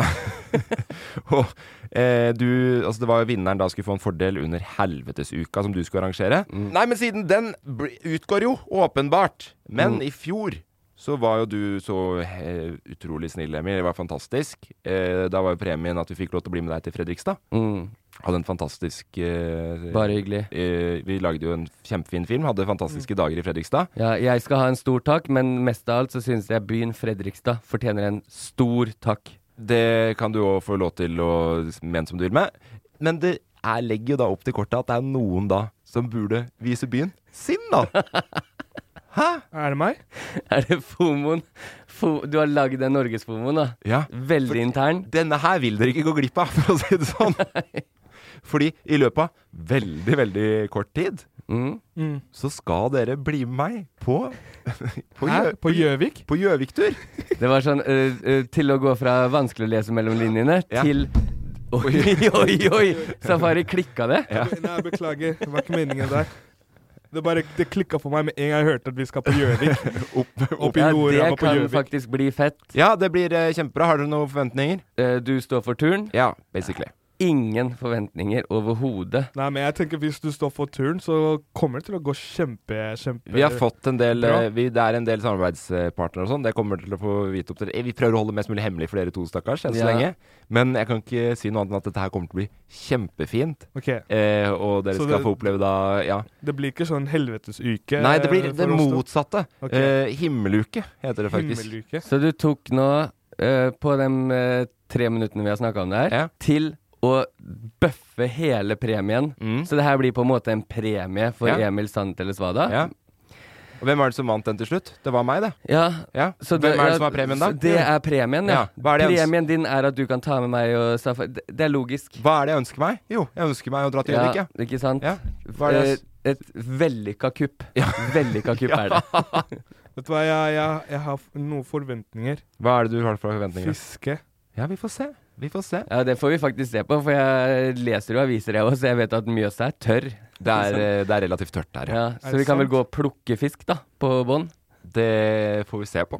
Speaker 3: og eh, du Altså, det var jo vinneren da skulle få en fordel under helvetesuka som du skulle arrangere. Nei, men siden den bl- utgår jo, åpenbart. Men
Speaker 6: Mm.
Speaker 3: i fjor så var jo du så eh, utrolig snill, Emil. Det var fantastisk. Eh, da var jo premien at vi fikk lov til å bli med deg til Fredrikstad.
Speaker 6: Mm.
Speaker 3: Hadde en fantastisk eh,
Speaker 6: Bare hyggelig.
Speaker 3: Eh, vi lagde jo en kjempefin film. Hadde fantastiske dager i Fredrikstad.
Speaker 6: Ja, jeg skal ha en stor takk, men mest av alt så syns jeg byen Fredrikstad fortjener en stor takk.
Speaker 3: Det kan du òg få lov til å mene som du vil med. Men det er, legger jo da opp til kortet at det er noen da som burde vise byen sin, da.
Speaker 4: Er det meg?
Speaker 6: Er det fomoen? Fo du har lagd den norgesfomoen, da?
Speaker 3: Ja.
Speaker 6: Veldig intern.
Speaker 3: Denne her vil dere ikke gå glipp av, for å si det sånn. Fordi i løpet av veldig, veldig kort tid
Speaker 4: Mm.
Speaker 3: så skal dere bli med meg på På
Speaker 4: Hæ?
Speaker 3: Gjø-
Speaker 4: På Gjøvik?
Speaker 3: På Gjøvik-tur.
Speaker 6: Det var sånn øh, øh, til å gå fra vanskelig å lese mellom linjene til Oi, oi, oi! Safari klikka det.
Speaker 4: Nei, beklager. Det var ikke meningen der. Det bare det klikka for meg med en gang jeg hørte at vi skal på Gjøvik.
Speaker 3: opp,
Speaker 4: opp i
Speaker 6: ja,
Speaker 4: Nordramma
Speaker 6: det
Speaker 4: på
Speaker 6: kan
Speaker 4: Gjøvik.
Speaker 6: faktisk bli fett.
Speaker 3: Ja, det blir eh, kjempebra. Har dere noen forventninger?
Speaker 6: Eh, Du står for turen.
Speaker 3: Ja, basically.
Speaker 6: Ingen forventninger overhodet.
Speaker 4: Nei, men jeg tenker hvis du står for turen, så kommer det til å gå kjempe, kjempe
Speaker 3: Vi har fått en del
Speaker 4: Bra.
Speaker 3: eh, vi, Det er en del samarbeidspartnere og sånn. Det kommer dere til å få vite opp til eh, Vi prøver å holde det mest mulig hemmelig for dere to, stakkars, enn så
Speaker 6: Ja.
Speaker 3: lenge. Men jeg kan ikke si noe annet enn at dette her kommer til å bli kjempefint.
Speaker 4: Ok.
Speaker 3: Eh, og dere
Speaker 4: Så
Speaker 3: skal
Speaker 4: det-
Speaker 3: få oppleve da Ja.
Speaker 4: Det blir ikke sånn helvetesuke?
Speaker 3: Nei, det blir
Speaker 4: eh,
Speaker 3: det
Speaker 4: for oss to.
Speaker 3: motsatte.
Speaker 4: Ok.
Speaker 3: Eh, himmeluke heter det faktisk.
Speaker 4: Himmeluke.
Speaker 6: Så du tok nå, eh, på de eh, tre minuttene vi har snakka om det her, til å bøffe hele premien.
Speaker 3: Mm.
Speaker 6: Så det her blir på en måte en premie for
Speaker 3: Ja.
Speaker 6: Emil Sant eller Svada.
Speaker 3: Ja. Og hvem er det som vant den til slutt? Det var meg, det.
Speaker 6: Ja.
Speaker 3: Ja.
Speaker 6: Så
Speaker 3: hvem er
Speaker 6: ja,
Speaker 3: det som har premien, da?
Speaker 6: så Det er premien, ja.
Speaker 3: Ja, hva er det jeg ønsker-
Speaker 6: premien din er at du kan ta med meg og Safari. Det- Det er logisk.
Speaker 3: Hva er det jeg ønsker meg? Jo, jeg ønsker meg å dra til Gjøvik,
Speaker 6: ja,
Speaker 3: jeg.
Speaker 6: ikke sant?
Speaker 3: Hva er det?
Speaker 6: Eh, Et vellykka kupp. Vellykka kupp er det.
Speaker 4: Vet du hva, jeg, jeg, jeg har f- noen forventninger.
Speaker 3: Hva er det du har for forventninger?
Speaker 4: Fiske.
Speaker 3: Ja, vi får se. Vi får se.
Speaker 6: Ja, det får vi faktisk se på, for jeg leser jo aviser jeg òg, så jeg vet at Mjøsa er tørr.
Speaker 3: Det er, eh, det er relativt tørt der,
Speaker 6: Ja,
Speaker 3: ja.
Speaker 6: så vi kan vel gå og plukke fisk, da, på bånn?
Speaker 3: Det får vi se på.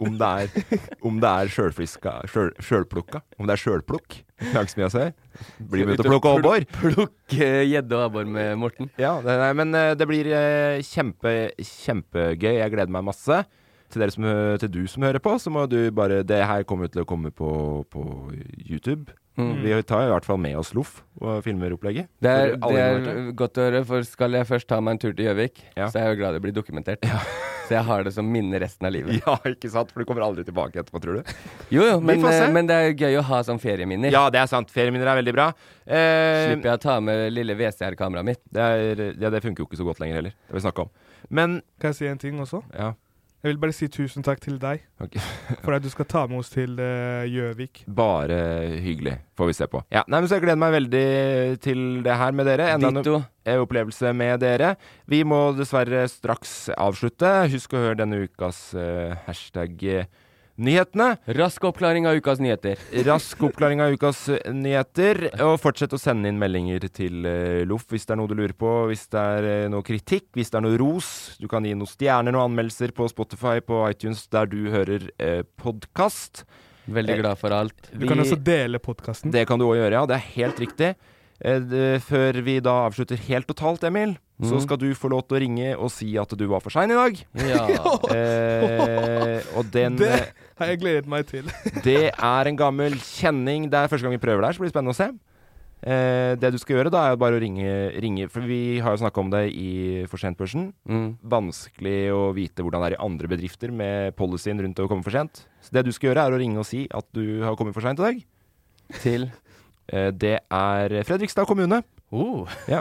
Speaker 3: Om det er, om det er sjølfiska sjøl- Sjølplukka. Om det er sjølplukk. Laksmia seg. Blir
Speaker 6: Ut
Speaker 3: med ut og plukke
Speaker 6: og
Speaker 3: abbor.
Speaker 6: Plukke gjedde og abbor med Morten.
Speaker 3: Ja, det, nei, men eh, det blir eh, kjempe, kjempegøy. Jeg gleder meg masse. Til, dere som, hø- til du som hører på, så må du bare Det her kommer jo til å komme på, på YouTube.
Speaker 6: Mm.
Speaker 3: Vi tar i hvert fall med oss Loff og filmer opplegget.
Speaker 6: Det er,
Speaker 3: For alle
Speaker 6: det
Speaker 3: involverte.
Speaker 6: er godt å høre, for skal jeg først ta meg en tur til Gjøvik, så er jeg jo glad det blir dokumentert. Så jeg har det som minne resten av livet.
Speaker 3: Ja, ikke sant? For du kommer aldri tilbake etterpå, tror du?
Speaker 6: Jo, jo,
Speaker 3: Vi
Speaker 6: men,
Speaker 3: får se.
Speaker 6: eh, men det er jo gøy å ha sånn ferieminner.
Speaker 3: Ja, det er sant. Ferieminner er veldig bra. Eh,
Speaker 6: Slipper jeg å ta med lille VCR-kameraet mitt.
Speaker 3: Det, er, ja, det funker jo ikke så godt lenger heller. Det har vi snakka om. Men
Speaker 4: Kan jeg si en ting også?
Speaker 3: Ja.
Speaker 4: Jeg vil bare si tusen takk til deg
Speaker 3: Ok.
Speaker 4: for at du skal ta med oss til eh, Gjøvik.
Speaker 3: Bare hyggelig, får vi se på. Ja, nei, men Så jeg gleder meg veldig til det her med dere. Enda en
Speaker 6: Ditto.
Speaker 3: eh, opplevelse med dere. Vi må dessverre straks avslutte. Husk å høre denne ukas eh, hashtag eh, Nyhetene.
Speaker 6: Rask oppklaring av ukas nyheter.
Speaker 3: Rask oppklaring av ukas eh, nyheter. Og fortsett å sende inn meldinger til eh, Loff hvis det er noe du lurer på, hvis det er eh, noe kritikk, hvis det er noe ros. Du kan gi noen stjerner, noen anmeldelser på Spotify, på iTunes, der du hører eh, podkast. Eh.
Speaker 6: Veldig glad for alt.
Speaker 4: Du kan også dele podkasten.
Speaker 3: Det kan du òg gjøre, ja. Det er helt riktig. Eh, det- Før vi da avslutter helt totalt, Emil, så
Speaker 6: Mhm.
Speaker 3: skal du få lov til å ringe og si at du var for sein i dag.
Speaker 6: Ja.
Speaker 3: eh, og den
Speaker 4: Det har jeg gledet meg til.
Speaker 3: det er en gammel kjenning. Det er første gang vi prøver det her, så blir det spennende å se. Eh, det du skal gjøre, da er jo bare å ringe, ringe For vi har jo snakka om det i For sent-børsen.
Speaker 6: Mm.
Speaker 3: Vanskelig å vite hvordan det er i andre bedrifter med policyen rundt å komme for sent. Så det du skal gjøre, er å ringe og si at du har kommet for seint i dag.
Speaker 6: Til?
Speaker 3: Eh, det er Fredrikstad kommune. Ja,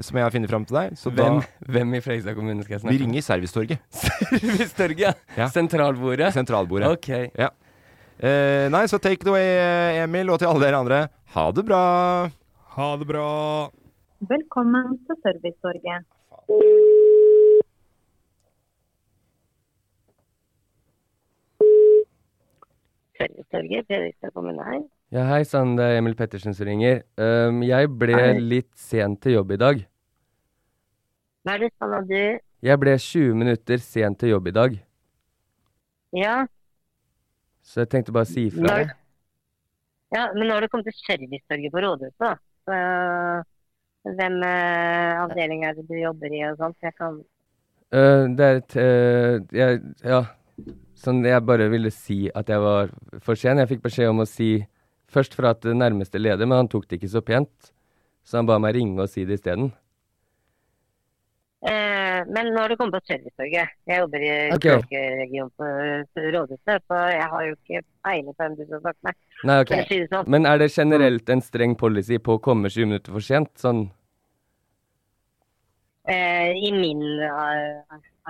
Speaker 3: som jeg har funnet fram til deg. Så
Speaker 6: Hvem,
Speaker 3: da
Speaker 6: hvem i Fredrikstad kommune skal jeg snakke
Speaker 3: Vi ringer Servicetorget.
Speaker 6: Servicetorget,
Speaker 3: Ja.
Speaker 6: Sentralbordet?
Speaker 3: Sentralbordet.
Speaker 6: Ok.
Speaker 3: Ja. Eh, nei, så take it away, Emil, og til alle dere andre. Ha det bra.
Speaker 4: Ha det bra.
Speaker 2: Velkommen til Servicetorget. Servicetorget, Fredrikstad kommune her.
Speaker 6: Ja, hei sann, det er Emil Pettersen som ringer. Um, jeg ble
Speaker 2: Hei.
Speaker 6: litt sen til jobb i dag.
Speaker 2: Hva er det sånn at du
Speaker 6: Jeg ble 20 minutter sen til jobb i dag,
Speaker 2: Ja,
Speaker 6: så jeg tenkte bare å si ifra.
Speaker 2: Nei. ja men nå har du kommet til Servicetorget på Rådhuset, da. Så, øh, hvem øh, avdeling er det du jobber i og sånt? Jeg kan
Speaker 6: Uh, det er et uh, jeg, Ja, sånn jeg bare ville si at jeg var for sen. Jeg fikk beskjed om å si først fra at det nærmeste leder, men han tok det ikke så pent, så han ba meg ringe og si det isteden.
Speaker 2: Eh, Men nå har du kommet på Servicetorget. Jeg jobber i
Speaker 6: Ok.
Speaker 2: Torgeregion på øh, Rådhuset, så jeg har jo ikke peiling på hvem du skal snakke med.
Speaker 6: Nei, ok.
Speaker 2: For å si det sånn.
Speaker 6: Men er det generelt en streng policy på å komme 20 minutter for sent? Sånn
Speaker 2: Eh, I min eh,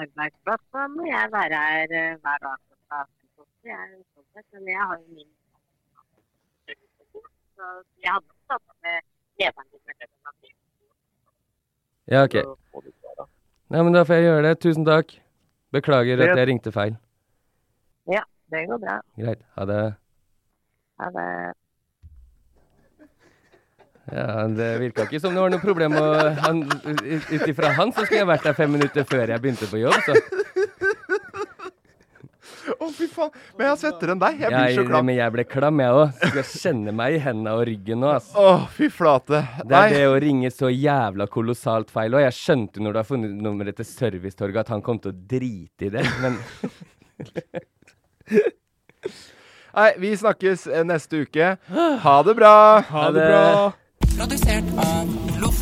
Speaker 2: arbeidsplass så må jeg være her eh, hver dag. klokka fem også. Jeg er sånn sett, Men jeg har jo min Så jeg hadde ikke tatt med lederen min. men det var ikke
Speaker 6: Ja, OK. Nei, men da får jeg gjøre det. Tusen takk. Beklager at
Speaker 2: Ja.
Speaker 6: jeg ringte feil.
Speaker 2: det. Ja, det går bra.
Speaker 6: Greit. Ha det.
Speaker 2: Ha det.
Speaker 6: Ja, Det virka ikke som det var noe problem. å- han- Ut ifra han så skulle jeg vært der fem minutter før jeg begynte på jobb. Så.
Speaker 3: Å, fy faen. Men jeg er svettere enn deg. Jeg blir så
Speaker 6: Jeg,
Speaker 3: klam.
Speaker 6: men jeg ble klam, jeg òg. Skal kjenne meg i hendene og ryggen nå, ass.
Speaker 3: Å, fy flate.
Speaker 6: Det
Speaker 3: Nei.
Speaker 6: er det å ringe så jævla kolossalt feil òg. Jeg skjønte når du har funnet nummeret til Servicetorget at han kom til å drite i det, men
Speaker 3: Nei, vi snakkes eh, neste uke. Ha det bra.
Speaker 6: Ha det bra.
Speaker 11: Produsert av Loff.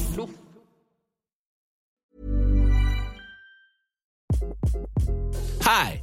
Speaker 17: Hi,